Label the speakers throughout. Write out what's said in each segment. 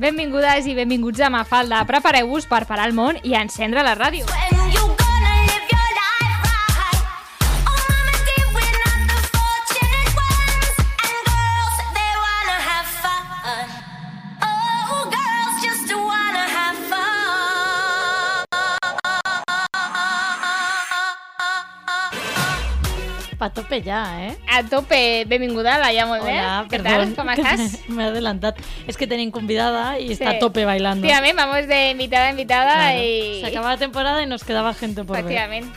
Speaker 1: Benvingudes i benvinguts a Mafalda. Prepareu-vos per parar el món i encendre la ràdio.
Speaker 2: When you gonna live your life right? Oh, mama, dear, we're not the fortunate ones. And girls, they wanna have fun. Oh, girls just wanna have fun.
Speaker 3: Pa tope ya, ¿eh?
Speaker 1: A tope, benvinguda, Laia, molt bé. Què tal? Com
Speaker 3: que
Speaker 1: estàs?
Speaker 3: Me he adelantado. Es que tenían convidada y está
Speaker 1: Sí.
Speaker 3: a tope bailando.
Speaker 1: Efectivament, vamos de invitada a invitada
Speaker 3: Claro.
Speaker 1: i...
Speaker 3: Se acaba la temporada y nos quedaba gente por ver.
Speaker 1: Efectivament.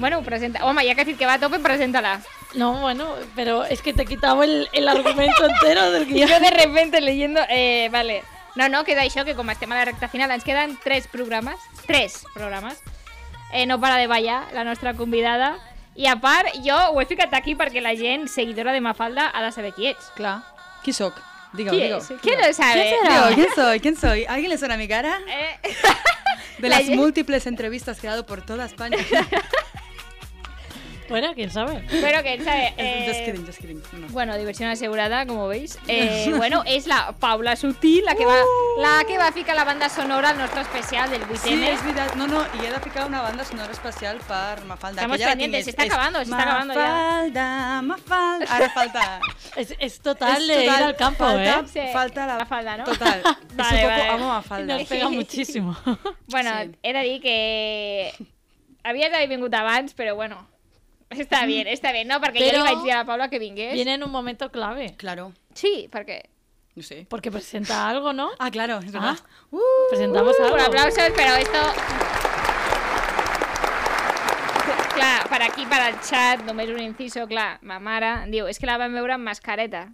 Speaker 1: Bueno, presenta... Home, ja que has dit que va a tope, presenta-la.
Speaker 3: No, bueno, pero es que te he quitado el, el argumento entero del guión.
Speaker 1: Jo de repente leyendo... Eh, vale. No, no, queda això, que com estem a la recta final, ens queden tres programes. Tres programes. Eh, no para de ballar, la nostra convidada. I a part, jo ho he ficat aquí perquè la gent seguidora de Mafalda ha de saber qui ets.
Speaker 4: Clar. ¿Qui sóc? Digue-ho,
Speaker 1: ¿Quién
Speaker 4: digue-ho.
Speaker 1: es? ¿Quién lo sabe?
Speaker 4: Digue-ho, ¿quién soy? ¿Quién soy? ¿Alguien le suena mi cara?
Speaker 1: Eh,
Speaker 4: De
Speaker 1: La
Speaker 4: las
Speaker 1: ye-
Speaker 4: múltiples entrevistas que he dado por toda España. Eh,
Speaker 3: Bueno, quién sabe.
Speaker 1: bueno, que él sabe.
Speaker 4: Just
Speaker 1: eh,
Speaker 4: kidding, just kidding. No.
Speaker 1: bueno, diversión asegurada, como veis. Eh, bueno, es la Paula Sutil, la que va, la que va a ficar la banda sonora al nuestro especial del
Speaker 4: Uh. Sí,
Speaker 1: Witene.
Speaker 4: és veritat. No, no, i he de ficar una banda sonora especial per Mafalda.
Speaker 1: Estamos
Speaker 4: que ja la
Speaker 1: pendientes,
Speaker 4: tinc,
Speaker 1: se está
Speaker 4: és-
Speaker 1: acabando, se está acabando ya.
Speaker 4: Mafalda, Mafalda... Ara falta...
Speaker 3: Es, es total
Speaker 4: És
Speaker 3: de ir
Speaker 4: total,
Speaker 3: al campo,
Speaker 4: falta-
Speaker 3: ¿eh?
Speaker 1: Sí,
Speaker 4: Falta la...
Speaker 1: Mafalda, ¿no?
Speaker 4: Total. és
Speaker 1: Vale,
Speaker 4: un
Speaker 1: vale.
Speaker 4: poco amo
Speaker 3: Y
Speaker 4: Mafalda.
Speaker 3: nos pega muchísimo.
Speaker 1: Bueno,
Speaker 4: Sí.
Speaker 1: he de dir que havies d'haver vingut abans, però bueno,
Speaker 4: Mm.
Speaker 1: està bien, està bien, no? Perquè jo
Speaker 3: Però-
Speaker 1: li vaig dir a la Paula que vingués.
Speaker 3: Viene en un momento clave.
Speaker 4: Claro,
Speaker 1: Sí, perquè...
Speaker 4: no sé.
Speaker 3: Porque presenta algo, ¿no?
Speaker 4: Ah, claro, és verdad. Uh,
Speaker 3: Presentamos algo.
Speaker 1: Un aplauso, pero esto... Clar, per aquí, per al xat, només un inciso, clar, ma mare diu, és que la vam veure amb mascareta.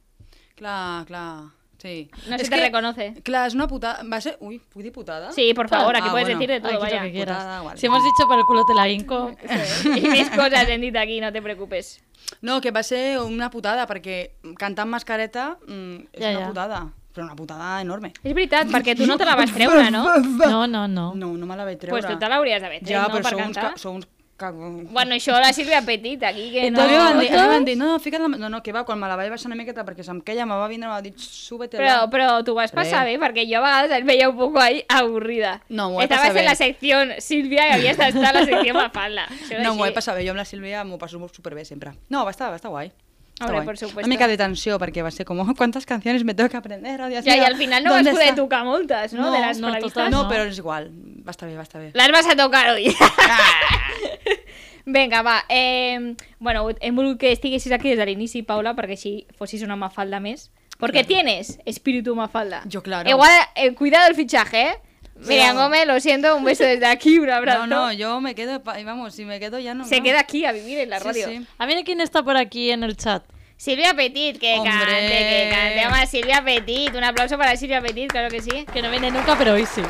Speaker 4: clar, clar. Sí.
Speaker 1: No se
Speaker 4: És
Speaker 1: te
Speaker 4: que-
Speaker 1: reconoce.
Speaker 4: Clar, és una putada... Va ser... Ui, puc dir putada?
Speaker 1: Sí, por favor,
Speaker 4: Ah,
Speaker 1: aquí puedes
Speaker 4: bueno.
Speaker 1: decir de todo,
Speaker 3: Aquí lo
Speaker 1: vaya.
Speaker 3: que quieras.
Speaker 4: Putada, vale.
Speaker 3: Si hemos dicho por el culo te la hinco,
Speaker 1: Y mis cosas en dit aquí, no te preocupes.
Speaker 4: No, que va ser una putada, perquè cantar amb mascareta mm, és
Speaker 3: Ja,
Speaker 4: una
Speaker 3: ja.
Speaker 4: putada, però una putada enorme.
Speaker 1: És veritat, perquè tu no te la vas treure, no?
Speaker 3: No, no, no.
Speaker 4: No, no me la vaig treure.
Speaker 1: Pues tu te l'hauries d'haver tret,
Speaker 4: Ja,
Speaker 1: no?
Speaker 4: però
Speaker 1: Per
Speaker 4: sou uns,
Speaker 1: cantar.
Speaker 4: ca- sou uns cagons.
Speaker 1: Bueno, això la Sílvia Petit, aquí, que no...
Speaker 4: a mi em van dir, a mi em van dir, no, no, fica't la... mà." No, no, que va, quan me la vaig baixar una miqueta perquè se'm queia, me va vindre, me va dir, súbete
Speaker 1: Però, però tu vas passar bé,
Speaker 4: Re.
Speaker 1: perquè jo a vegades et veia un poco ahí avorrida.
Speaker 4: No, m'ho he
Speaker 1: Estabas
Speaker 4: passat bé.
Speaker 1: en la secció Sílvia i havies d'estar a la secció Mafalda. Això és
Speaker 4: No, m'ho he
Speaker 1: així.
Speaker 4: passat bé, jo amb la Sílvia m'ho passo molt superbé sempre. No, va estar, va estar guai. Està
Speaker 1: Hombre,
Speaker 4: guai.
Speaker 1: por supuesto.
Speaker 4: Una mica de tensió, perquè va ser com, "Oh, ¿cuántas canciones me tengo que aprender? Oh, Dios
Speaker 1: Ya, y
Speaker 4: mío,
Speaker 1: al final no vas
Speaker 4: ¿dónde
Speaker 1: poder
Speaker 4: está?"
Speaker 1: tocar moltes, ¿no?
Speaker 3: No,
Speaker 1: de las
Speaker 3: no,
Speaker 1: paradistas.
Speaker 3: total.
Speaker 4: No,
Speaker 3: No.
Speaker 4: però és igual, va estar bé, va estar bé.
Speaker 1: Las vas a tocar hoy. Venga, va. Eh, bueno, hem volgut que estiguessis aquí des de l'inici, Paula, perquè així fossis una mafalda més. Porque tienes espíritu mafalda.
Speaker 4: Yo, claro.
Speaker 1: Igual, eh, cuidado el fichaje, ¿eh? Miriam Gómez, lo siento, un beso desde aquí, un abrazo.
Speaker 4: No, no, yo me quedo, pa- vamos, si me quedo ya no.
Speaker 1: Se
Speaker 4: no.
Speaker 1: queda aquí a vivir en la
Speaker 4: Sí,
Speaker 1: radio.
Speaker 4: sí.
Speaker 3: A ver quién está por aquí en el chat.
Speaker 1: Silvia Petit, que
Speaker 4: Hombre.
Speaker 1: cante, que cante. Vamos a Silvia Petit. Un aplauso para Silvia Petit, claro que sí.
Speaker 3: Que no viene nunca, pero hoy sí.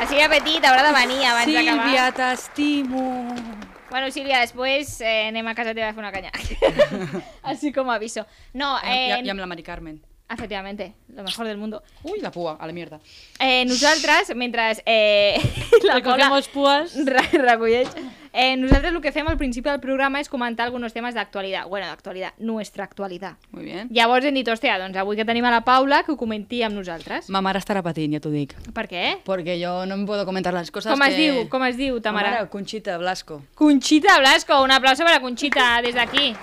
Speaker 1: A Silvia Petit, ahora de venir abans d'acabar.
Speaker 4: Sílvia, t'estimo.
Speaker 1: Bueno, Sílvia, després eh, anem a casa teva a fer una canya. Així com aviso. No,
Speaker 4: I,
Speaker 1: eh,
Speaker 4: I amb la Mari Carmen.
Speaker 1: efectivamente, lo mejor del mundo.
Speaker 4: Ui, la pua, a la mierda.
Speaker 1: Eh, nosaltres, mentre eh, la Paula
Speaker 3: Recogemos púas.
Speaker 1: re- recolleix, eh, nosaltres el que fem al principi del programa és comentar alguns temes d'actualitat. Bueno, d'actualitat, nuestra actualitat.
Speaker 4: Muy bien.
Speaker 1: Llavors hem dit, hòstia, doncs avui que tenim a la Paula, que ho comenti amb nosaltres.
Speaker 4: Ma mare estarà patint, ja t'ho dic.
Speaker 1: Per què?
Speaker 4: Perquè jo no em puedo comentar les coses
Speaker 1: Com
Speaker 4: que...
Speaker 1: es diu? Com es diu, ta
Speaker 4: Ma
Speaker 1: mare?
Speaker 4: mare, Conchita Blasco.
Speaker 1: Conxita Blasco, un aplauso per a Conxita des d'aquí.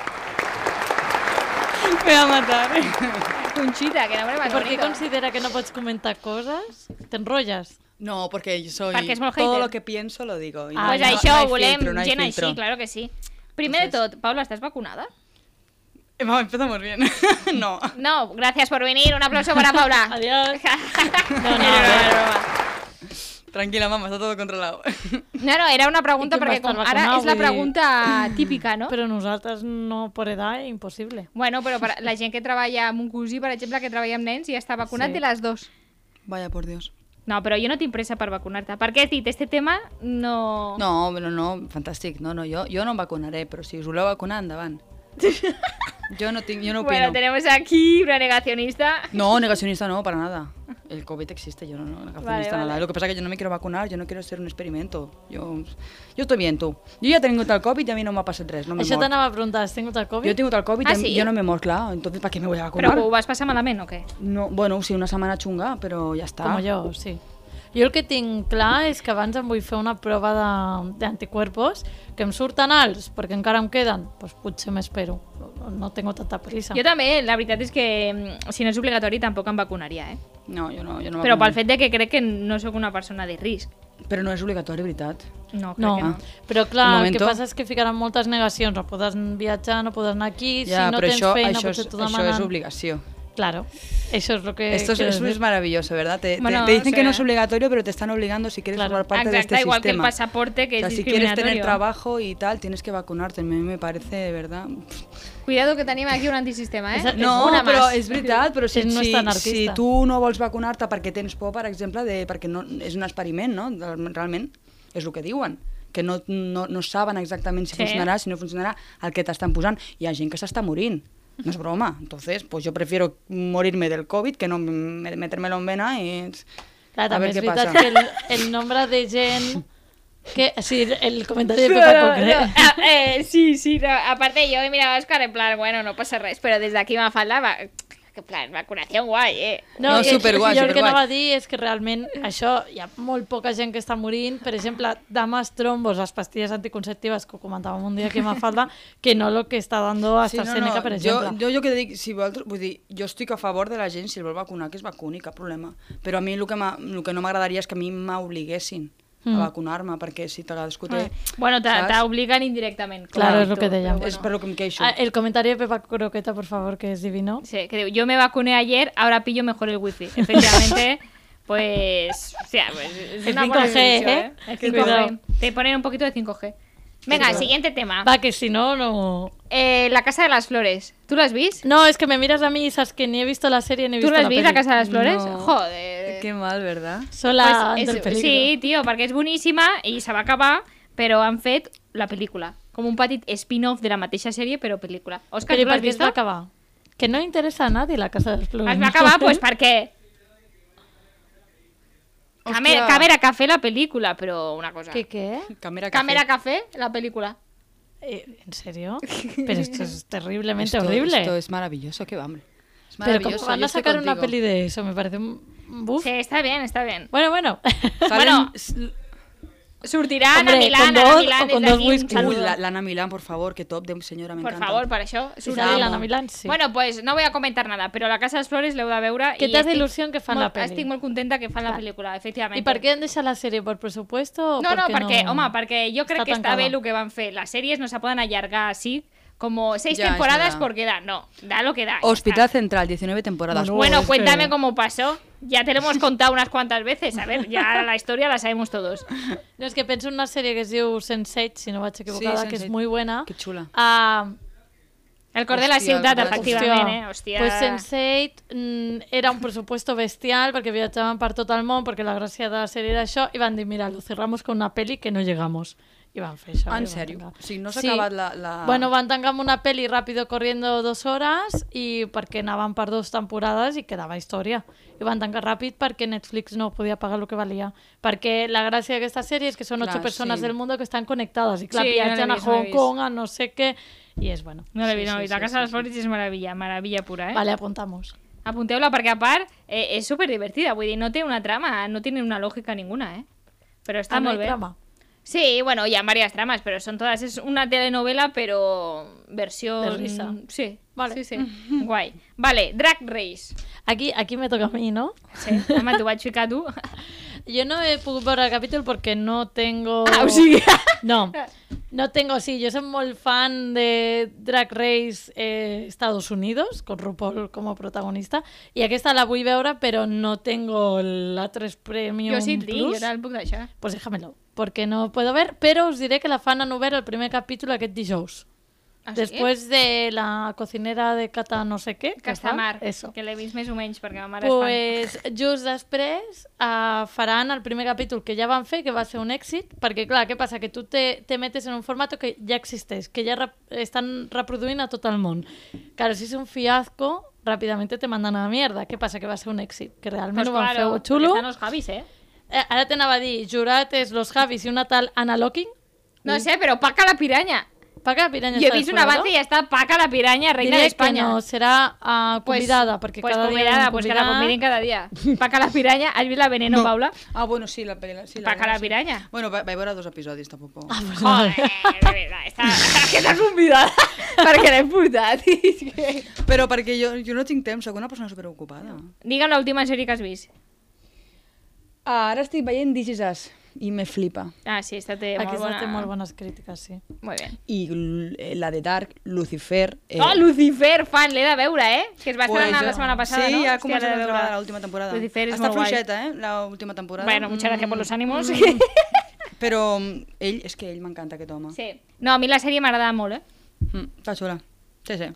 Speaker 4: Me va matar.
Speaker 1: Conxita, que nombre
Speaker 3: ¿Y
Speaker 1: más
Speaker 3: por qué
Speaker 1: bonito.
Speaker 3: considera que no puedes comentar cosas? ¿Te enrollas?
Speaker 4: No, porque yo soy...
Speaker 1: Perquè és molt
Speaker 4: Todo
Speaker 1: hater.
Speaker 4: lo que pienso lo digo. I
Speaker 3: Ah,
Speaker 1: pues
Speaker 3: no,
Speaker 1: això,
Speaker 4: hi
Speaker 1: ho volem
Speaker 4: filtro, no hi
Speaker 1: gent
Speaker 4: filtro.
Speaker 1: així, claro que sí. Primer de tot, Paula, ¿estás vacunada?
Speaker 4: Va, empezamos bien. no.
Speaker 1: No, gracias por venir, un aplauso para Paula.
Speaker 3: Adiós.
Speaker 1: no,
Speaker 3: No,
Speaker 1: no,
Speaker 3: no, no.
Speaker 4: Tranquila, mamá, está todo controlado.
Speaker 1: No, no, era una pregunta
Speaker 3: I qui va
Speaker 1: perquè
Speaker 3: estar
Speaker 1: com ara
Speaker 3: vacunat,
Speaker 1: és la
Speaker 3: vull dir?
Speaker 1: pregunta típica, no?
Speaker 3: Pero nosotras no por edad es imposible.
Speaker 1: Bueno, però per la gent que treballa amb un cosí, per exemple, que treballa amb nens i està vacunat
Speaker 3: Sí.
Speaker 1: de les dues.
Speaker 4: Vaya, por Dios.
Speaker 1: No, però jo no tinc pressa per vacunar-te. Perquè has dit, este tema no...
Speaker 4: No, no, no, fantàstic. No, no, jo, jo no em vacunaré, però si us voleu vacunar, endavant. Jo no, tinc, jo no opino.
Speaker 1: bueno, tenemos aquí una negacionista.
Speaker 4: No, negacionista no, para nada. El COVID existe, yo no, no negacionista
Speaker 1: Vale, vale.
Speaker 4: nada. Lo que pasa es que yo no me quiero vacunar, yo no quiero ser un experimento. Yo, yo estoy bien, tú. Yo ya tengo tal COVID y a mí no me pasa res, no me
Speaker 3: Això
Speaker 4: mor.
Speaker 3: t'anava a preguntar, has tingut el Covid?
Speaker 4: Yo tengo tal COVID
Speaker 1: Ah,
Speaker 4: y a mí-
Speaker 1: sí?
Speaker 4: yo no me mor, claro. Entonces, ¿para qué me voy a
Speaker 1: Però
Speaker 4: vacunar?
Speaker 1: ho vas passar malament o què?
Speaker 4: No, bueno, sí, una semana chunga, pero ya está.
Speaker 3: Com jo, sí. Jo el que tinc clar és que abans em vull fer una prova de- d'anticuerpos que em surten alts, perquè encara em queden. Doncs potser m'espero. No- No tengo tanta prisa.
Speaker 1: Jo també, la veritat és que mm, si no és obligatori tampoc em vacunaria, eh?
Speaker 4: No, yo no, yo no me
Speaker 1: Però pel
Speaker 4: vacunaré.
Speaker 1: fet de que crec que no sóc una persona de risc.
Speaker 4: Pero no es obligatorio, ¿verdad?
Speaker 1: No, crec
Speaker 3: No,
Speaker 4: Ah.
Speaker 1: que no.
Speaker 3: però
Speaker 4: Un
Speaker 3: clar, el
Speaker 4: momento.
Speaker 3: que passa és que ficaran moltes negacions. No podes viatjar, no podes anar aquí, si no
Speaker 4: pero
Speaker 3: tens
Speaker 4: eso,
Speaker 3: feina
Speaker 4: eso
Speaker 3: potser
Speaker 4: es,
Speaker 3: t'ho
Speaker 4: eso es
Speaker 3: demanen.
Speaker 4: obligación.
Speaker 3: Claro, eso es lo que...
Speaker 4: Esto es,
Speaker 3: quiero
Speaker 4: eso es
Speaker 3: decir.
Speaker 4: maravilloso, ¿verdad? Te, te-
Speaker 1: Bueno,
Speaker 4: te dicen
Speaker 1: o
Speaker 4: que no
Speaker 1: sea-
Speaker 4: es obligatorio, pero te están obligando si quieres
Speaker 3: Claro.
Speaker 4: formar parte de
Speaker 1: Exacto,
Speaker 4: este
Speaker 1: igual que el
Speaker 4: sistema.
Speaker 1: pasaporte, que
Speaker 4: O sea,
Speaker 1: es
Speaker 4: si quieres tener
Speaker 1: discriminatorio.
Speaker 4: trabajo y tal, tienes que vacunarte. A mí me parece, de verdad.
Speaker 1: Cuidado que tenim aquí un antisistema, eh?
Speaker 3: Esa-
Speaker 4: No,
Speaker 1: una
Speaker 4: però
Speaker 1: más.
Speaker 4: és veritat, però si,
Speaker 3: És no és
Speaker 4: si,
Speaker 3: tan artista.
Speaker 4: si tu no vols vacunar-te perquè tens por, per exemple, de, perquè no, és un experiment, no? De- Realment, és el que diuen que no, no, no saben exactament si
Speaker 1: Sí.
Speaker 4: sí. funcionarà, si no funcionarà, el que t'estan posant. Hi ha gent que s'està morint, no és broma. Entonces, pues jo prefiero morir-me del COVID que no me- metérmelo en vena i...
Speaker 3: Clar,
Speaker 4: a
Speaker 3: també
Speaker 4: veure
Speaker 3: és
Speaker 4: què
Speaker 3: veritat
Speaker 4: passa.
Speaker 3: que el, el nombre de gent... Que, sí, el comentari de
Speaker 1: No,
Speaker 3: Pepa
Speaker 1: no,
Speaker 3: Cocre.
Speaker 1: no. Ah, eh, sí, sí, no. aparte yo he mirado a Oscar en plan, bueno, no pasa res, pero desde aquí Mafalda va... En plan, vacunación guay, eh.
Speaker 4: No,
Speaker 3: i-
Speaker 4: superguai,
Speaker 3: i Jo el que
Speaker 4: superguai.
Speaker 3: anava a dir és que realment això, hi ha molt poca gent que està morint, per exemple, dames trombos, les pastilles anticonceptives que ho comentàvem un dia aquí a Mafalda, que no lo que està dando AstraZeneca, per exemple.
Speaker 4: Jo, jo, jo que dic, si vosaltres, vull dir, jo estic a favor de la gent, si el vol vacunar, que es vacuni, cap problema. Però a mi el que, m'a- el que no m'agradaria és que a mi m'obliguessin
Speaker 3: Hmm.
Speaker 4: mm. a vacunar-me, perquè si cadascú té...
Speaker 1: Ah. Bueno, te,
Speaker 4: ¿sabes?
Speaker 1: te obligan indirectament.
Speaker 3: este, Claro,
Speaker 1: correcto,
Speaker 3: és el que
Speaker 1: però
Speaker 3: dèiem.
Speaker 1: bueno.
Speaker 4: És per lo que em queixo.
Speaker 3: Ah, el comentario de Pepa Croqueta, por favor, que es divino.
Speaker 1: Sí, que digo, yo me vacuné ayer, ahora pillo mejor el wifi. Efectivamente, pues... O sea, pues, es
Speaker 3: El
Speaker 1: una buena
Speaker 3: 5G,
Speaker 1: solución,
Speaker 3: ¿eh?
Speaker 1: El
Speaker 3: Cuidado.
Speaker 1: 5G. Te ponen un poquito de 5G. Venga, siguiente tema.
Speaker 3: Va, que si no, no...
Speaker 1: Eh, la Casa de las Flores. ¿Tú lo has visto?
Speaker 3: No, es que me miras a mí y sabes que ni he visto la serie ni he
Speaker 1: ¿Tú
Speaker 3: visto
Speaker 1: lo has
Speaker 3: la
Speaker 1: visto, la
Speaker 3: peli.
Speaker 1: Casa de las Flores?
Speaker 4: No.
Speaker 1: Joder.
Speaker 4: Que mal, ¿verdad?
Speaker 3: Sola
Speaker 1: Pues
Speaker 3: ante
Speaker 1: és-
Speaker 3: el peligro.
Speaker 1: sí, tio, perquè és boníssima i se va acabar, però han fet la pel·lícula. Com un petit spin-off de la mateixa sèrie, però pel·lícula. Òscar,
Speaker 3: Pero
Speaker 1: tu l'has
Speaker 3: ¿por qué es
Speaker 1: vist?
Speaker 3: va acabar? Que no interesa a nadie la Casa de las Flores.
Speaker 1: Es va acabar, pues, perquè... Camera,
Speaker 4: Hòstia.
Speaker 1: Camera Café, la pel·lícula, però una cosa.
Speaker 3: ¿Qué qué?
Speaker 4: Camera café.
Speaker 1: Camera Café, la pel·lícula.
Speaker 3: Eh, ¿En serio? Pero esto es terriblemente
Speaker 4: Esto,
Speaker 3: horrible.
Speaker 4: Esto es maravilloso, qué hambre. Es
Speaker 3: Pero como
Speaker 4: maravilloso.
Speaker 3: van
Speaker 4: yo
Speaker 3: a
Speaker 4: estoy
Speaker 3: sacar una
Speaker 4: contigo.
Speaker 3: peli de eso, me parece un un buff.
Speaker 1: Sí, està bé, està bé.
Speaker 3: Bueno, bueno.
Speaker 4: Salen- uh,
Speaker 1: Sortiran
Speaker 3: Hombre,
Speaker 1: a Milán,
Speaker 3: con
Speaker 1: a
Speaker 3: dos-
Speaker 1: Milán,
Speaker 3: o con
Speaker 1: des
Speaker 3: dos
Speaker 1: d'aquí un
Speaker 3: whiskies.
Speaker 4: Uy,
Speaker 1: saludo.
Speaker 4: la, Lana Milán, por favor, qué top de señora, me
Speaker 1: Por
Speaker 4: encanta.
Speaker 1: favor, per això.
Speaker 3: Si
Speaker 1: sortirà.
Speaker 3: sale Lana Milán, sí.
Speaker 1: Bueno, pues no voy a comentar nada, però la Casa de les Flores l'heu de veure.
Speaker 3: Que
Speaker 1: i
Speaker 3: t'has
Speaker 1: estic
Speaker 3: d'il·lusió que fan
Speaker 1: molt-
Speaker 3: la peli.
Speaker 1: Estic molt contenta que fan la pel·lícula, efectivament.
Speaker 3: ¿Y por qué han dejado la serie? ¿Por presupuesto? o
Speaker 1: No, no, perquè,
Speaker 3: no?
Speaker 1: home, perquè jo crec
Speaker 3: Està
Speaker 1: que està
Speaker 3: tancada.
Speaker 1: bé el que van fer. Les sèries no se poden allargar així, com seis
Speaker 4: Ja, és
Speaker 1: temporadas
Speaker 4: verdad.
Speaker 1: porque da, no, da lo que da. ya
Speaker 4: Hospital
Speaker 1: está.
Speaker 4: Central, 19 temporadas.
Speaker 1: Pues
Speaker 3: Bueno, pues,
Speaker 1: Bueno,
Speaker 3: es
Speaker 1: cuéntame
Speaker 3: que-
Speaker 1: cómo pasó. Ya te lo hemos contado unas cuantas veces, a ver, ya la historia la sabemos todos.
Speaker 3: No, és que penso en una sèrie que es diu Sense8, si no vaig equivocada,
Speaker 4: Sí,
Speaker 3: que és
Speaker 4: Sense8.
Speaker 3: molt bona.
Speaker 4: Qué chula.
Speaker 3: Ah,
Speaker 1: El cor de la
Speaker 4: Hòstia,
Speaker 1: ciudad,
Speaker 4: el cor de la
Speaker 1: efectivament, eh? Hòstia.
Speaker 3: Pues Sense8 mm, era un pressupuesto bestial perquè viatjaven per tot el món, perquè la gràcia de la sèrie era això, i van dir, mira, lo cerramos con una peli que no llegamos. I van fer això.
Speaker 4: Ah, en
Speaker 3: i van
Speaker 4: sèrio?
Speaker 3: tancar.
Speaker 4: O sigui, no s'ha acabat la-
Speaker 1: Ah.
Speaker 4: la-
Speaker 3: Bueno, van tancar amb una peli ràpido corriendo dos hores i perquè anaven per dues temporades i quedava història. I van tancar ràpid perquè Netflix no podia pagar el que valia. Perquè la gràcia d'aquesta sèrie és que són
Speaker 4: Clar,
Speaker 3: ocho persones
Speaker 4: sí.
Speaker 3: del món que estan connectades i clar,
Speaker 1: Sí,
Speaker 3: sí,
Speaker 1: jo no l'he
Speaker 3: viatgen no a
Speaker 1: vist, no l'he
Speaker 3: Hong
Speaker 1: vist.
Speaker 3: Kong, a no sé què... I és bueno.
Speaker 1: No l'he vist, no l'he
Speaker 4: Sí, sí,
Speaker 1: vist. La
Speaker 4: sí,
Speaker 1: Casa de les Flores és meravella, meravella pura, eh?
Speaker 3: Vale, apuntamos.
Speaker 1: Apunteu-la perquè a part eh, és superdivertida, vull dir, no té una trama, no tiene una lògica ninguna, eh? Però està
Speaker 3: Ah, no
Speaker 1: molt
Speaker 3: hay
Speaker 1: bé.
Speaker 3: trama.
Speaker 1: Sí, bueno, hi ha varias tramas, pero son todas. Es una telenovela, pero versión.
Speaker 3: De risa.
Speaker 1: Sí.
Speaker 3: Vale.
Speaker 1: Sí, sí. Guay. Vale, Drag Race.
Speaker 3: Aquí, aquí me toca a mi, ¿no?
Speaker 1: Sí. Home, t'ho vaig ficar tu.
Speaker 3: Yo no he pogut veure el capítol perquè no tengo...
Speaker 1: Ah, o sigui...
Speaker 3: No, no tengo, sí, yo soy muy fan de Drag Race eh, Estados Unidos, con RuPaul como protagonista, y aquí está la vull veure, pero no tengo la 3 Premium
Speaker 1: Jo sí et dic, jo
Speaker 3: Plus.
Speaker 1: te'l puc deixar.
Speaker 3: Pues déjamelo, porque no puedo ver, pero os diré que la fan a ver el primer capítol aquest dijous.
Speaker 1: Ah, sí?
Speaker 3: Després de la cocinera de Cata no sé què. que
Speaker 1: Castamar,
Speaker 3: fa Eso.
Speaker 1: que l'he vist més o menys, perquè ma mare és
Speaker 3: Pues, just després uh, faran el primer capítol que ja van fer, que va ser un èxit, perquè, clar, què passa? Que tu te, te metes en un format que ja existeix, que ja rep estan reproduint a tot el món. Claro, si és un fiasco, ràpidament te mandan a la mierda. Què passa? Que va ser un èxit, que
Speaker 1: fan.
Speaker 3: realment
Speaker 1: Pues
Speaker 3: ho van
Speaker 1: claro,
Speaker 3: fer
Speaker 1: perquè
Speaker 3: xulo.
Speaker 1: Estan els Javis, eh?
Speaker 3: Eh, ara t'anava a dir, jurat és Los Javis i una tal Ana Locking.
Speaker 1: No sé, però Paca la piranya.
Speaker 3: Paca Piraña
Speaker 1: Jo he
Speaker 3: està
Speaker 1: vist un
Speaker 3: desfogado.
Speaker 1: avance i ja està Paca la piranya, reina
Speaker 3: Diré
Speaker 1: d'Espanya.
Speaker 3: que no, serà ah, convidada, perquè
Speaker 1: pues
Speaker 3: cada
Speaker 1: convidada,
Speaker 3: dia...
Speaker 1: pues que la conviden cada dia. Paca la piranya, has vist la veneno, Paula?
Speaker 4: Ah, bueno, sí, la pel·li... Sí,
Speaker 1: Paca la
Speaker 4: sí.
Speaker 1: piranya.
Speaker 4: Bueno, va, vaig veure dos episodis, tampoc. Ah,
Speaker 1: Joder, de veritat, està... aquesta convidada perquè l'he portat. és que-
Speaker 4: Però perquè jo, jo no tinc temps, sóc una persona superocupada.
Speaker 1: Digue'm l'última sèrie que has vist.
Speaker 4: Ah, ara estic veient This Is Us i me flipa.
Speaker 1: Ah, sí, esta té molt
Speaker 3: Aquesta
Speaker 1: bona.
Speaker 3: té molt bones crítiques, sí.
Speaker 1: Molt bé.
Speaker 4: I l- eh, la de Dark, Lucifer...
Speaker 1: Eh. Oh, Lucifer, fan, l'he de veure, eh? Que es va
Speaker 4: Pues
Speaker 1: estrenar
Speaker 4: jo-
Speaker 1: la setmana passada,
Speaker 4: sí,
Speaker 1: no?
Speaker 4: Sí, ja
Speaker 1: Hòstia,
Speaker 4: ha començat
Speaker 1: l'he
Speaker 4: a
Speaker 1: de
Speaker 4: veure
Speaker 1: veure.
Speaker 4: l'última temporada.
Speaker 1: Lucifer és
Speaker 4: Està
Speaker 1: molt guai.
Speaker 4: fluixeta, eh, l'última temporada.
Speaker 1: Bueno, muchas gracias por los ánimos.
Speaker 4: Mm, Però mm, ell, és que ell m'encanta, aquest home.
Speaker 1: sí. No, a mi la sèrie m'agrada molt, eh?
Speaker 4: Mm, està xula. Sí, sí.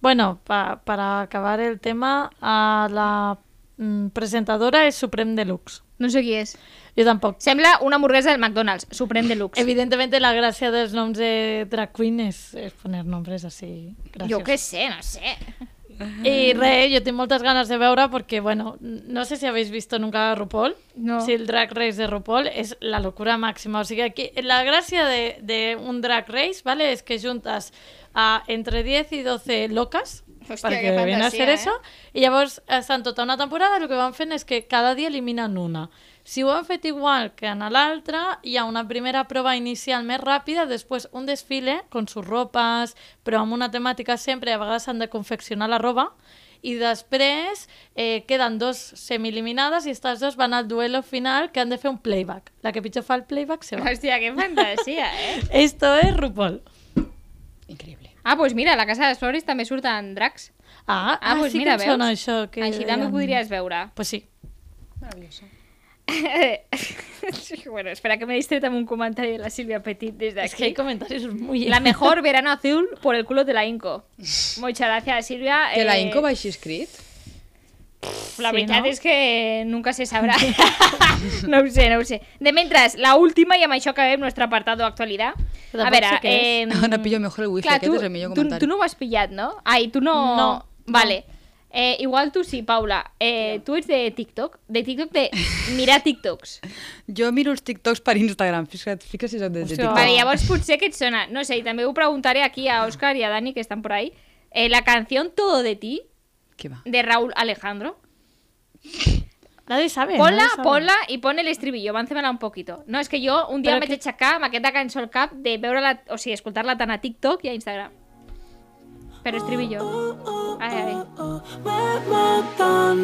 Speaker 3: Bueno, pa- para acabar el tema, ah, la mm, presentadora és Supreme Deluxe.
Speaker 1: No sé qui és.
Speaker 3: Jo tampoc.
Speaker 1: Sembla una hamburguesa del McDonald's, Supreme Deluxe.
Speaker 3: Evidentment, la gràcia dels noms de drag queen és, és poner nombres així graciosos.
Speaker 1: Jo què sé, no sé.
Speaker 3: I res, jo tinc moltes ganes de veure perquè, bueno, no sé si habéis visto nunca RuPaul.
Speaker 1: No.
Speaker 3: Si el Drag Race de RuPaul és la locura màxima. O sigui, aquí, la gràcia de, de un Drag Race, ¿vale? És que juntes a entre 10 i 12 locas
Speaker 1: Hòstia,
Speaker 3: perquè
Speaker 1: que
Speaker 3: ven
Speaker 1: fantasia,
Speaker 3: a ser
Speaker 1: eh?
Speaker 3: eso i llavors estan tota una temporada el que van fent és que cada dia eliminen una si ho han fet igual que en l'altra hi ha una primera prova inicial més ràpida després un desfile con sus ropes però amb una temàtica sempre a vegades han de confeccionar la roba i després eh, queden dos semieliminades i aquestes dos van al duelo final que han de fer un playback. La que pitjor fa el playback se va.
Speaker 1: Hòstia, que fantasia, eh?
Speaker 3: Esto es RuPaul.
Speaker 4: Increïble.
Speaker 1: Ah, doncs pues mira, a la Casa de les Flores també surten dracs.
Speaker 3: Ah,
Speaker 1: Ah,
Speaker 3: ah,
Speaker 1: pues
Speaker 3: sí
Speaker 1: mira,
Speaker 3: que em sona
Speaker 1: veus?
Speaker 3: això. Que
Speaker 1: Així també ho
Speaker 3: deien.
Speaker 1: podries veure.
Speaker 3: Pues sí.
Speaker 4: Maravilloso.
Speaker 1: Sí, bueno, espera que me he distret amb un comentari de la Silvia Petit des
Speaker 3: Es que hay
Speaker 1: d'aquí.
Speaker 3: comentarios muy...
Speaker 1: La mejor verano azul por el culo de la Inco. Muchas gracias, Silvia.
Speaker 4: Que la
Speaker 1: Eh,
Speaker 4: Inco va així escrit?
Speaker 1: La
Speaker 3: Sí,
Speaker 1: veritat
Speaker 3: no?
Speaker 1: és que nunca se sabrà. no ho sé, no ho sé. De mentres, la última, i amb això acabem nostre apartado actualitat.
Speaker 3: Però
Speaker 1: A veure,
Speaker 3: tampoc sé què
Speaker 1: eh,
Speaker 4: Ara Ah, pillo mejor el wifi,
Speaker 1: clar,
Speaker 4: aquest
Speaker 1: tu,
Speaker 4: és el millor
Speaker 1: tu- Tu,
Speaker 4: comentari.
Speaker 1: no ho has pillat, no? Ai, tu no...
Speaker 3: No,
Speaker 1: Vale. Eh, igual tu sí, Paula. Eh, Tu ets de TikTok? De TikTok de mirar TikToks.
Speaker 4: Jo miro els TikToks per Instagram, fixa't, fixa't si soc de
Speaker 3: Hòstia.
Speaker 4: TikTok.
Speaker 1: Vale, llavors potser que et sona. No sé, i també ho preguntaré aquí a Òscar i a Dani, que estan por ahí. Eh, la canción Todo de ti,
Speaker 4: Què va?
Speaker 1: de Raúl Alejandro.
Speaker 3: Nadie sabe.
Speaker 1: Ponla,
Speaker 3: nadie sabe.
Speaker 1: ponla i pon el estribillo, avancemela un poquito. No, és que jo un dia
Speaker 3: Però
Speaker 1: em vaig
Speaker 3: que-
Speaker 1: aixecar amb aquesta cançó al cap de veure-la, o sigui, escoltar-la tant a TikTok i a Instagram. Però estribillo. Ai, ai.
Speaker 5: Oh,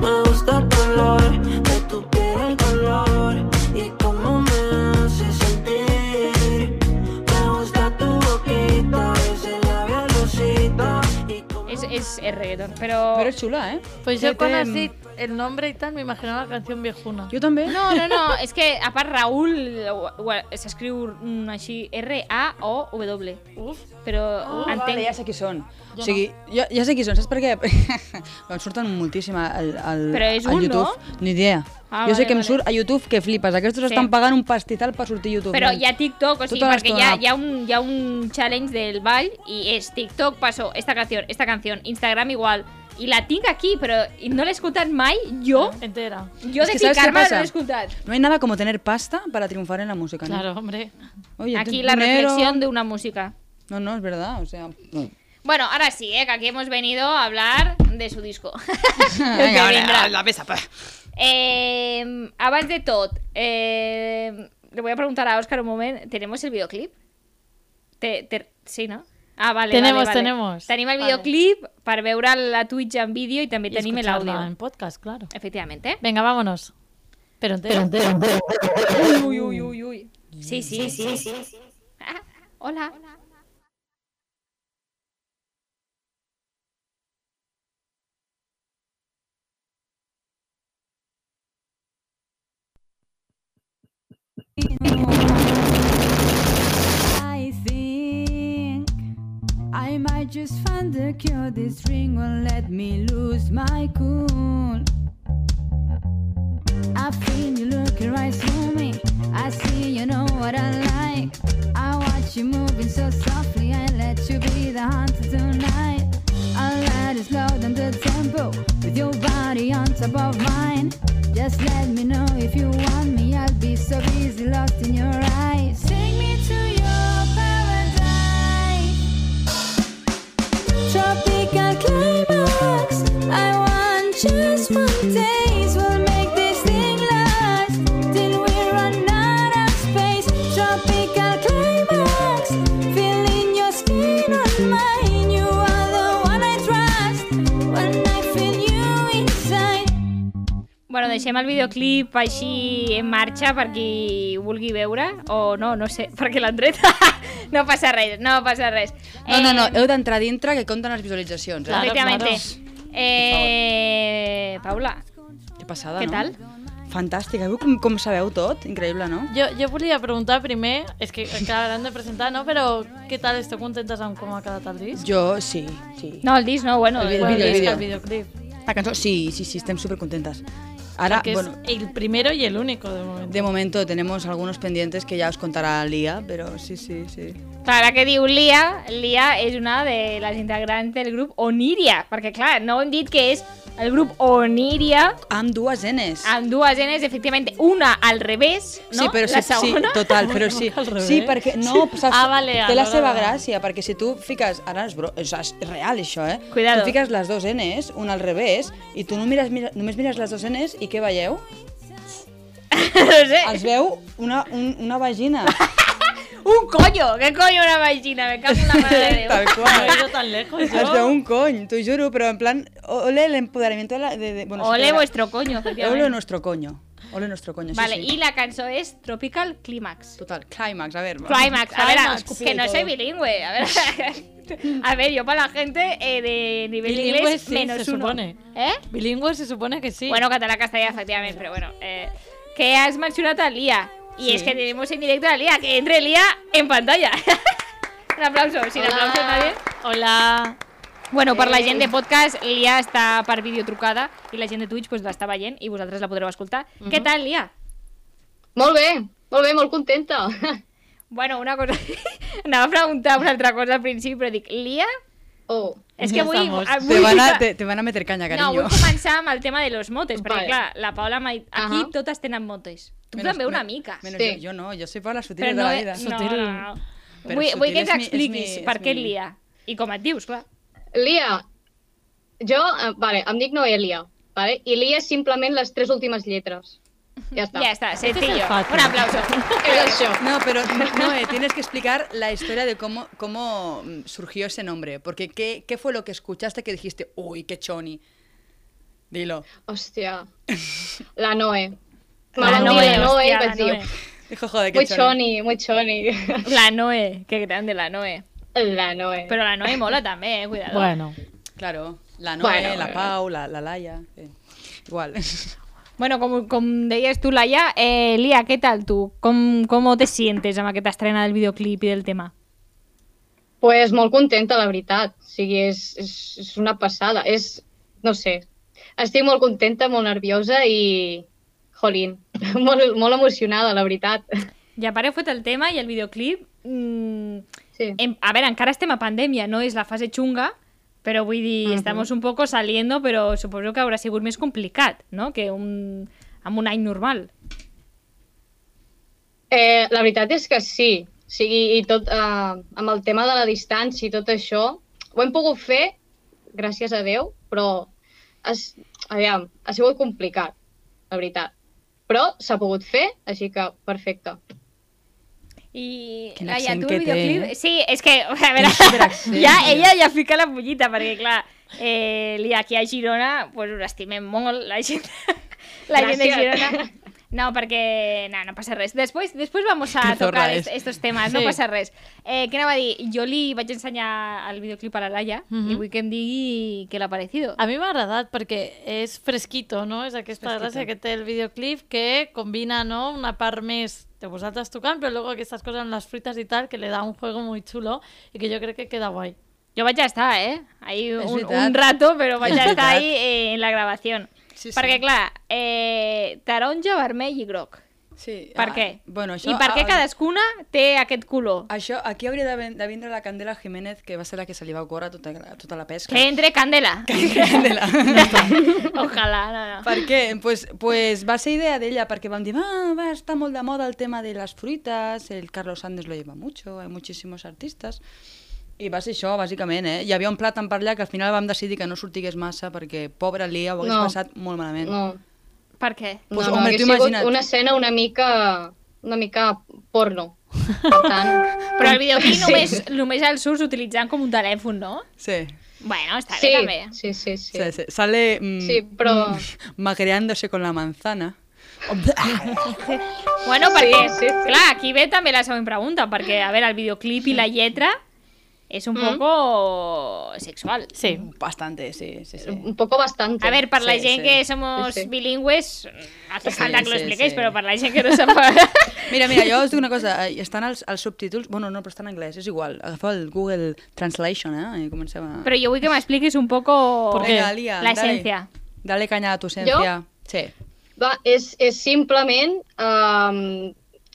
Speaker 5: Me gusta el color de tu piel, el color y cómo me hace sentir. Me gusta tu boquita, ese labial rosita y cómo
Speaker 1: És, és, és reggaeton, però...
Speaker 4: Però és xula, eh?
Speaker 3: Pues
Speaker 4: Sí,
Speaker 3: yo cuando
Speaker 4: té-
Speaker 3: has dit el nombre y tal me imaginaba la canción viejuna.
Speaker 4: Jo també.
Speaker 1: No, no, no, és que a part Raül ho- ho- s'escriu mm, així R-A-O-W.
Speaker 3: Uf.
Speaker 1: Però entenc...
Speaker 4: Ah, Oh, Vale, ja sé qui són. o sigui, jo, ja sé qui són, saps per què? em surten moltíssim al, al,
Speaker 1: Però és
Speaker 4: al
Speaker 1: un,
Speaker 4: YouTube.
Speaker 1: no?
Speaker 4: Ni idea.
Speaker 1: Ah,
Speaker 4: jo sé
Speaker 1: vale,
Speaker 4: que em
Speaker 1: vale.
Speaker 4: surt a YouTube que flipes. Aquests
Speaker 1: Sí.
Speaker 4: estan pagant un pastizal per sortir a YouTube.
Speaker 1: Però
Speaker 4: nen.
Speaker 1: hi ha TikTok, o sigui,
Speaker 4: Tota
Speaker 1: perquè hi ha,
Speaker 4: l'estona.
Speaker 1: hi, ha un, hi ha un challenge del ball i és TikTok, passo esta canción, esta canción, Instagram igual. I la tinc aquí, però no l'he escoltat mai, jo.
Speaker 3: Entera.
Speaker 1: Jo
Speaker 4: És
Speaker 1: de
Speaker 4: Ah. que saps què
Speaker 1: ficar-me no
Speaker 4: passa?
Speaker 1: l'he escoltat.
Speaker 4: No hay nada como tener pasta para triunfar en la música. ¿no?
Speaker 3: Claro, hombre.
Speaker 4: Oye,
Speaker 1: Aquí
Speaker 4: ten
Speaker 1: la
Speaker 4: dinero.
Speaker 1: reflexión de una música.
Speaker 4: No, no, es verdad. O sea.
Speaker 1: Bueno, ahora sí, eh, que aquí hemos venido a hablar de su disco. El que vendrá.
Speaker 4: la pesa. pa.
Speaker 1: Eh, abans de tot, eh, le voy a preguntar a Óscar un moment, ¿tenemos el videoclip? Te, te- sí, no? Ah, vale,
Speaker 3: Tenemos,
Speaker 1: vale, vale.
Speaker 3: tenemos.
Speaker 1: Tenim el
Speaker 3: Vale.
Speaker 1: videoclip per veure la Twitch en vídeo i també
Speaker 3: Y
Speaker 1: tenim
Speaker 3: escucharla
Speaker 1: l'àudio.
Speaker 3: en podcast, claro.
Speaker 1: Efectivamente.
Speaker 3: Venga, vámonos. Pero entera.
Speaker 1: Uy, uy, uy, uy. Sí, sí, sí, sí. Ah, hola.
Speaker 6: just found the cure. This ring won't let me lose my cool. I feel you looking right through me. I see you know what I like. I watch you moving so softly. I let you be the hunter tonight. I let it slow down the tempo with your body on top of mine. Just let me know if you want me. I'll be so busy lost in your eyes. Take me to your paradise. Tropical climax. I want just one taste. We'll make this thing last till we run out of space. Tropical climax. Feeling your skin on mine. You are the one I trust. When I feel you inside.
Speaker 1: Bueno, deixem el videoclip així en marxa per qui vulgui veure, o no, no sé, perquè l'han tret. no passa res, no passa res.
Speaker 4: No, no, no,
Speaker 1: Eh,
Speaker 4: heu d'entrar dintre que compten les visualitzacions, eh?
Speaker 3: Clar.
Speaker 1: Efectivamente. Eh, Paula,
Speaker 4: Que passada,
Speaker 1: què
Speaker 4: no?
Speaker 1: tal?
Speaker 4: Fantàstica, veu com, com sabeu tot? Increïble, no?
Speaker 3: Jo, jo volia preguntar primer, és que encara l'han de presentar, no? Però què tal? Esteu contentes amb com ha quedat el disc?
Speaker 4: Jo, sí, sí.
Speaker 1: No, el disc no, bueno,
Speaker 4: El
Speaker 1: bueno,
Speaker 4: vídeo,
Speaker 3: el,
Speaker 4: el
Speaker 3: disc,
Speaker 4: vídeo.
Speaker 3: el videoclip.
Speaker 4: La cançó, sí, sí, sí, estem supercontentes. Ara,
Speaker 3: Perquè
Speaker 4: Ah, bueno,
Speaker 3: és el primero y el único, de moment.
Speaker 4: de momento tenemos algunos pendientes que ya os contará Lía, pero sí, sí, sí.
Speaker 1: Clar, la que diu Lia, Lia és una de les integrants del grup Oniria, perquè clar, no hem dit que és el grup Oniria,
Speaker 4: Amb dues Ns.
Speaker 1: amb dues Ns, efectivament, una al revés, Ah, no?
Speaker 4: Sí, però
Speaker 1: la
Speaker 4: sí, sí,
Speaker 1: segona.
Speaker 4: total, però sí.
Speaker 3: Al revés.
Speaker 4: Sí, perquè no, saps,
Speaker 3: Ah, vale,
Speaker 4: té la
Speaker 3: alhora,
Speaker 4: seva
Speaker 3: vale.
Speaker 4: gràcia, perquè si tu fiques, ara és, bro, és, és real això, eh?
Speaker 1: Cuidado.
Speaker 4: Tu fiques les dues Ns, una al revés, i tu no mires, mira, només mires les dues Ns i què veieu?
Speaker 1: no sé,
Speaker 4: Els veu una, un, una vagina.
Speaker 1: un coño, què coño una vagina, me cago en la mare de Déu.
Speaker 3: No
Speaker 4: Tal
Speaker 3: he
Speaker 4: qual.
Speaker 3: ido tan lejos,
Speaker 4: Els
Speaker 3: yo.
Speaker 4: veu un cony, t'ho juro, però en plan, ole el empoderamiento de... la- de, de bueno, sí que
Speaker 1: Ole
Speaker 4: era-
Speaker 1: vuestro coño,
Speaker 4: Ole
Speaker 1: efectivament.
Speaker 4: nuestro coño. Ole nuestro coño, sí,
Speaker 1: Vale,
Speaker 4: sí.
Speaker 1: i la cançó és Tropical Climax.
Speaker 4: Total, climax, a ver. va.
Speaker 1: Climax, a ver, a-
Speaker 3: Climax,
Speaker 1: que
Speaker 3: sí,
Speaker 1: no
Speaker 3: todo.
Speaker 1: soy bilingüe, a ver. A ver, yo para la gente eh, de nivel
Speaker 3: Bilingüe
Speaker 1: inglés
Speaker 3: sí,
Speaker 1: menos
Speaker 3: se
Speaker 1: uno.
Speaker 3: supone.
Speaker 1: ¿Eh?
Speaker 3: Bilingüe se supone que sí.
Speaker 1: Bueno, catalán, castellano, efectivamente, pero bueno. Eh, que has mencionado a Lía. Y es que tenemos en directo a Lía, que entre Lía en pantalla. Un aplauso, sin aplauso nadie.
Speaker 3: Hola.
Speaker 1: Bueno, per la gent de podcast, Lia està per videotrucada i la gent de Twitch pues, l'està veient i vosaltres la podreu escoltar.
Speaker 3: Mhm.
Speaker 1: Què tal, Lia?
Speaker 7: Molt bé, molt bé, molt contenta.
Speaker 1: Bueno, una cosa... Anava a preguntar una altra cosa al principi, però dic, Lia...
Speaker 7: Oh,
Speaker 1: És que
Speaker 3: Ja
Speaker 1: avui...
Speaker 3: estamos.
Speaker 1: avui
Speaker 4: Te van, a, te, te van a meter
Speaker 1: No,
Speaker 4: caña, cariño.
Speaker 1: vull començar amb el tema de los motes, perquè
Speaker 7: Vale.
Speaker 1: clar, la Paula m'ha dit, aquí
Speaker 7: Ahà.
Speaker 1: totes tenen motes. Tu
Speaker 4: Menos-
Speaker 1: també una
Speaker 4: me-
Speaker 1: mica.
Speaker 4: Menos
Speaker 7: Sí.
Speaker 4: yo, yo no, yo soy para las
Speaker 1: Però
Speaker 4: sutiles
Speaker 1: no,
Speaker 4: de la
Speaker 1: és-
Speaker 4: vida.
Speaker 1: no,
Speaker 3: Sutil.
Speaker 1: no, no.
Speaker 4: Però
Speaker 1: Vull,
Speaker 4: sutil
Speaker 1: vull que
Speaker 4: és mi- és
Speaker 1: t'expliquis
Speaker 4: mi- és
Speaker 1: per què
Speaker 4: mi-
Speaker 1: et lia i com et dius, clar.
Speaker 7: Lia, jo, eh, vale, em dic Noelia, vale? i Lia és simplement les tres últimes lletres. Ja està.
Speaker 1: Ja està, sencillo.
Speaker 3: fàcil.
Speaker 1: Un aplauso.
Speaker 7: És això.
Speaker 4: No, pero no, eh, tienes que explicar la historia de cómo, cómo mm, surgió ese nombre. Porque ¿qué, ¿qué fue lo que escuchaste que dijiste, uy, qué choni? Dilo.
Speaker 7: Hòstia, la Noe. Me
Speaker 1: La
Speaker 7: van dir
Speaker 1: Noe,
Speaker 7: la Noe i
Speaker 1: hòstia,
Speaker 7: vaig
Speaker 1: la
Speaker 7: dir,
Speaker 1: Noe.
Speaker 4: Dijo, joder, qué
Speaker 7: muy
Speaker 4: choni.
Speaker 7: choni, muy choni.
Speaker 1: La Noe, que grande la Noe.
Speaker 7: La Noe.
Speaker 1: Però la Noe mola també, eh, cuidado.
Speaker 3: Bueno.
Speaker 4: Claro, la Noe,
Speaker 7: Bueno,
Speaker 4: la
Speaker 7: bueno.
Speaker 4: Pau, la, la Laia. eh, Igual.
Speaker 1: Bueno, com, com deies tu, Laia, eh, Lia, què tal tu? Com, com te sientes amb aquesta estrena del videoclip i del tema?
Speaker 7: Pues molt contenta, la veritat. O sigui, és, és, és una passada. És, no sé, estic molt contenta, molt nerviosa i... Jolín, molt, molt emocionada, la veritat.
Speaker 1: Ja pare fot el tema i el videoclip... Mm,
Speaker 7: Sí.
Speaker 1: En- a ver, encara estem a pandemia, no és la fase chunga, pero vull dir, estamos un poco saliendo, pero supongo que haurà sigut més complicat, no?, que un, amb un any normal.
Speaker 7: Eh, la veritat és que sí. O sigui, i tot eh, amb el tema de la distància i tot això, ho hem pogut fer, gràcies a Déu, però es, aviam, ha sigut complicat, la veritat. Però s'ha pogut fer, així que perfecte.
Speaker 1: I
Speaker 4: Quin
Speaker 1: la ja,
Speaker 4: accent
Speaker 1: tu
Speaker 4: que
Speaker 1: el
Speaker 4: té,
Speaker 1: videoclip...
Speaker 4: eh?
Speaker 1: Sí, és que, a veure, ja, ella ja fica la pollita, perquè, clar, eh, li- aquí a Girona, pues, us estimem molt, la gent, la gent de
Speaker 7: Gràcies.
Speaker 1: Girona. No, perquè... No, no passa res. Després, després vamos a
Speaker 4: Que zorra
Speaker 1: tocar
Speaker 4: és.
Speaker 1: est estos temes, no
Speaker 3: Sí.
Speaker 1: passa res. Eh, què anava a dir? Jo li vaig ensenyar el videoclip a la Laia
Speaker 3: Mhm.
Speaker 1: i vull que em digui què l'ha parecido.
Speaker 3: A mi m'ha agradat perquè és fresquito, no? És aquesta
Speaker 4: Fresquito.
Speaker 3: gràcia que té el videoclip que combina no? una part més de vosaltres tocant, però luego aquestes coses amb les fruites i tal, que le da un juego muy chulo i que jo crec que queda guai.
Speaker 1: Jo vaig estar, eh? Ahir
Speaker 8: És
Speaker 1: un,
Speaker 8: veritat.
Speaker 1: un rato, però vaig
Speaker 8: És
Speaker 1: estar
Speaker 8: veritat.
Speaker 1: ahir eh, en la gravació.
Speaker 4: Sí, sí.
Speaker 1: Perquè, clar, eh, taronja, vermell i groc.
Speaker 4: Sí,
Speaker 1: Per
Speaker 4: ah,
Speaker 1: què?
Speaker 4: Bueno, això,
Speaker 1: I per què
Speaker 4: ah,
Speaker 1: cadascuna té aquest color?
Speaker 4: Això, aquí hauria de, ven- de vindre la Candela Jiménez, que va ser la que se li va ocórrer tota, tota la pesca.
Speaker 1: Que entre Candela.
Speaker 4: Candela.
Speaker 1: Ojalà, no, no.
Speaker 4: per què? Pues, pues va ser idea d'ella, perquè vam dir, ah, va estar molt de moda el tema de les fruites, el Carlos Sandes lo lleva mucho, hay muchísimos artistas, i va ser això, bàsicament, eh? Hi havia un plàtan per allà que al final vam decidir que no sortigués massa perquè, pobra Lia, ho hagués
Speaker 7: No.
Speaker 4: passat molt malament.
Speaker 7: No,
Speaker 1: Per què?
Speaker 4: Pues,
Speaker 7: no, no,
Speaker 4: home,
Speaker 7: hauria
Speaker 4: tu
Speaker 7: sigut
Speaker 4: imagina't.
Speaker 7: una escena una mica, una mica porno. Per tant,
Speaker 1: Però el videoclip només, només el surts utilitzant com un telèfon, no?
Speaker 4: Sí.
Speaker 1: Bueno, està
Speaker 7: sí,
Speaker 1: bé també.
Speaker 7: sí, sí, sí.
Speaker 4: Sí, sí. Sale mm,
Speaker 7: Sí, però-
Speaker 4: mm, maquereándose con la manzana.
Speaker 1: Bueno,
Speaker 7: Sí,
Speaker 1: perquè,
Speaker 7: sí, sí.
Speaker 1: clar, aquí ve també la següent pregunta, perquè, a veure, el videoclip i la lletra és un
Speaker 7: Mm.
Speaker 1: poco sexual.
Speaker 3: Sí.
Speaker 4: Bastante, sí, sí, sí.
Speaker 7: Un poco bastante.
Speaker 1: A ver, per la
Speaker 4: Sí,
Speaker 1: gent
Speaker 4: sí.
Speaker 1: que somos
Speaker 7: Sí, sí.
Speaker 1: bilingües, hace
Speaker 4: Sí,
Speaker 1: falta que lo
Speaker 4: sí,
Speaker 1: expliquéis,
Speaker 4: sí.
Speaker 1: però per la gent que no sap...
Speaker 4: Mira, mira, jo us dic una cosa, eh, estan els, els subtítols, bueno, no, però estan en anglès, és igual, agafeu el Google Translation, eh, i comencem a...
Speaker 1: però jo vull que m'expliquis un poco
Speaker 3: ¿Por qué?
Speaker 4: Venga, Lía,
Speaker 1: la
Speaker 4: dale.
Speaker 1: esencia.
Speaker 4: Dale caña a tu esencia. Sí.
Speaker 7: Va, és, és simplement um,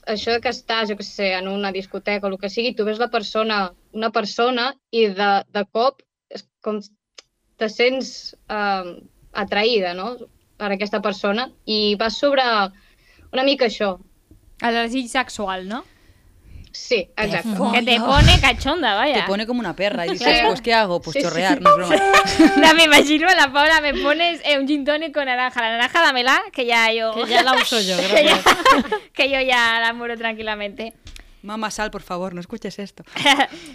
Speaker 7: això que estàs, jo què sé, en una discoteca o el que sigui, tu ves la persona, una persona i de, de cop és com te sents um, atraïda, no?, per aquesta persona i va sobre una mica això.
Speaker 1: El desig sexual, no?
Speaker 7: Sí, exacte.
Speaker 1: Que te pone cachonda, vaya.
Speaker 4: Te pone como una perra y dices,
Speaker 7: Sí.
Speaker 4: pues ¿qué hago? Pues
Speaker 7: Sí, sí.
Speaker 4: chorrear, no es broma.
Speaker 1: No, me imagino a la Paula, me pones eh, un gin tonic con naranja. La naranja dámela, que ya yo...
Speaker 3: Que ya la uso yo,
Speaker 1: que, ya-
Speaker 3: gracias.
Speaker 1: que yo ya la muero tranquilamente.
Speaker 4: Mamá, sal, por favor, no escuches esto.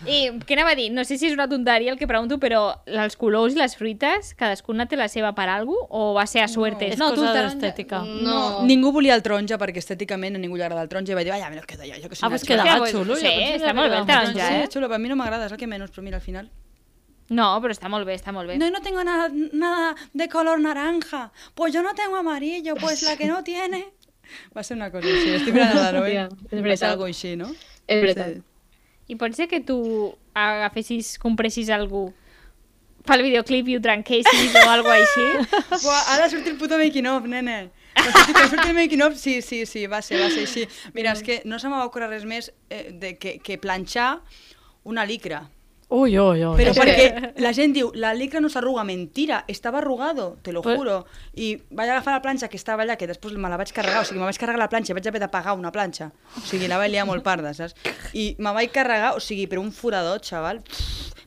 Speaker 1: I què anava a dir? No sé si és una tonteria el que pregunto, però els colors i les fruites, cadascuna té la seva per algú o va ser a suertes?
Speaker 3: Es
Speaker 1: No, tu
Speaker 3: cosa
Speaker 1: taronja-
Speaker 3: d'estètica.
Speaker 7: No,
Speaker 4: Ningú volia el taronja perquè estèticament a ningú li agrada el taronja i vaig dir, vaya, me lo quedo jo, jo que
Speaker 3: Ah,
Speaker 4: soy una
Speaker 3: pues
Speaker 4: chula".
Speaker 1: Hòstia,
Speaker 3: quedava
Speaker 1: pues,
Speaker 3: xulo.
Speaker 1: sí,
Speaker 3: jo pensava
Speaker 1: està
Speaker 3: que
Speaker 1: molt bé el
Speaker 3: quedava
Speaker 1: taronja,
Speaker 3: xulo.
Speaker 4: Sí,
Speaker 1: eh?
Speaker 4: és xulo, per mi no m'agrada, és el que menys, però mira, al final...
Speaker 1: No, però està molt bé, està molt bé.
Speaker 4: No, no tengo nada, nada de color naranja, pues yo no tengo amarillo, pues la que no tiene... Va ser una cosa així, estic mirant a la Noe.
Speaker 7: Hòstia, és
Speaker 4: Va ser
Speaker 7: veritat.
Speaker 4: algo així, no?
Speaker 7: és veritat.
Speaker 1: I pot ser que tu agafessis, compressis algú pel videoclip i ho trenquessis o alguna així?
Speaker 4: Buah, ha de sortir el puto making of, nene. Que surti, que surti el making of, sí, sí, sí, va ser, va ser així. Mira, és que no se m'ha ocórrer res més eh, de que, que planxar una licra.
Speaker 3: Uy, uy, uy.
Speaker 4: Però
Speaker 7: Sí.
Speaker 4: perquè la gent diu, la licra no s'arruga, mentira, estava arrugado, te lo
Speaker 3: Pues-
Speaker 4: juro. I vaig agafar la planxa que estava allà, que després me la vaig carregar, o sigui, me vaig carregar la planxa, vaig haver de pagar una planxa. O sigui, la vaig liar molt parda, saps? I me vaig carregar, o sigui, per un forador, xaval,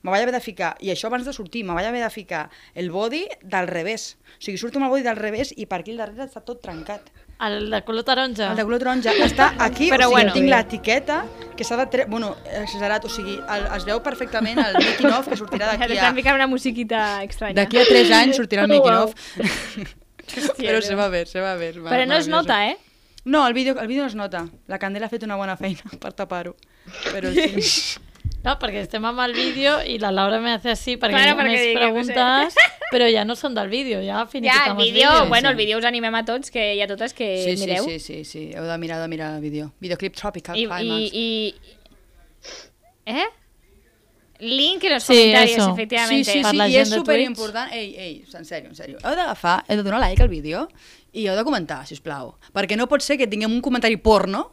Speaker 4: me vaig haver de ficar, i això abans de sortir, me vaig haver de ficar el body del revés. O sigui, surto amb el body del revés i per aquí al darrere està tot trencat.
Speaker 3: El de color taronja.
Speaker 4: El de color taronja està aquí,
Speaker 1: Però
Speaker 4: Però
Speaker 1: bueno.
Speaker 4: o sigui, bueno, tinc l'etiqueta que s'ha de treure... Bueno, exagerat, o sigui, el, es veu perfectament el making of que sortirà
Speaker 1: Ja
Speaker 4: d'aquí a...
Speaker 1: t'estan ficant una musiqueta estranya.
Speaker 4: D'aquí a 3 anys sortirà el making
Speaker 7: Uau.
Speaker 4: of. Però se va bé, se va bé. Va,
Speaker 1: Però no es
Speaker 4: maravilloso.
Speaker 1: nota, eh?
Speaker 4: No, el vídeo, el vídeo no es nota. La Candela ha fet una bona feina per tapar-ho. Però
Speaker 1: Eh,
Speaker 4: sí.
Speaker 3: No, porque este mama el vídeo y la Laura me hace así para
Speaker 1: Claro,
Speaker 3: que
Speaker 1: porque digo, no sé.
Speaker 3: preguntas, pero ya no son del vídeo, ya
Speaker 1: Ja, el
Speaker 3: finiquitamos
Speaker 1: vídeo,
Speaker 3: vídeos.
Speaker 1: bueno, el vídeo us animem a tots, que hi ha totes que
Speaker 4: Sí, sí,
Speaker 1: mireu.
Speaker 4: sí, sí, sí. Heu de mirar, heu de mirar el vídeo. Videoclip Tropical
Speaker 1: I,
Speaker 4: Climax.
Speaker 1: i, i... ¿Eh? Link en los
Speaker 3: Sí,
Speaker 1: comentarios,
Speaker 3: eso.
Speaker 4: Sí,
Speaker 1: efectivamente.
Speaker 4: sí,
Speaker 3: Per
Speaker 4: sí,
Speaker 3: la
Speaker 4: i
Speaker 3: gent
Speaker 4: és
Speaker 3: de
Speaker 4: superimportant. Ei, ei, en sèrio, en sèrio. Heu d'agafar, heu de donar like al vídeo i heu de comentar, si us plau. Perquè no pot ser que tinguem un comentari porno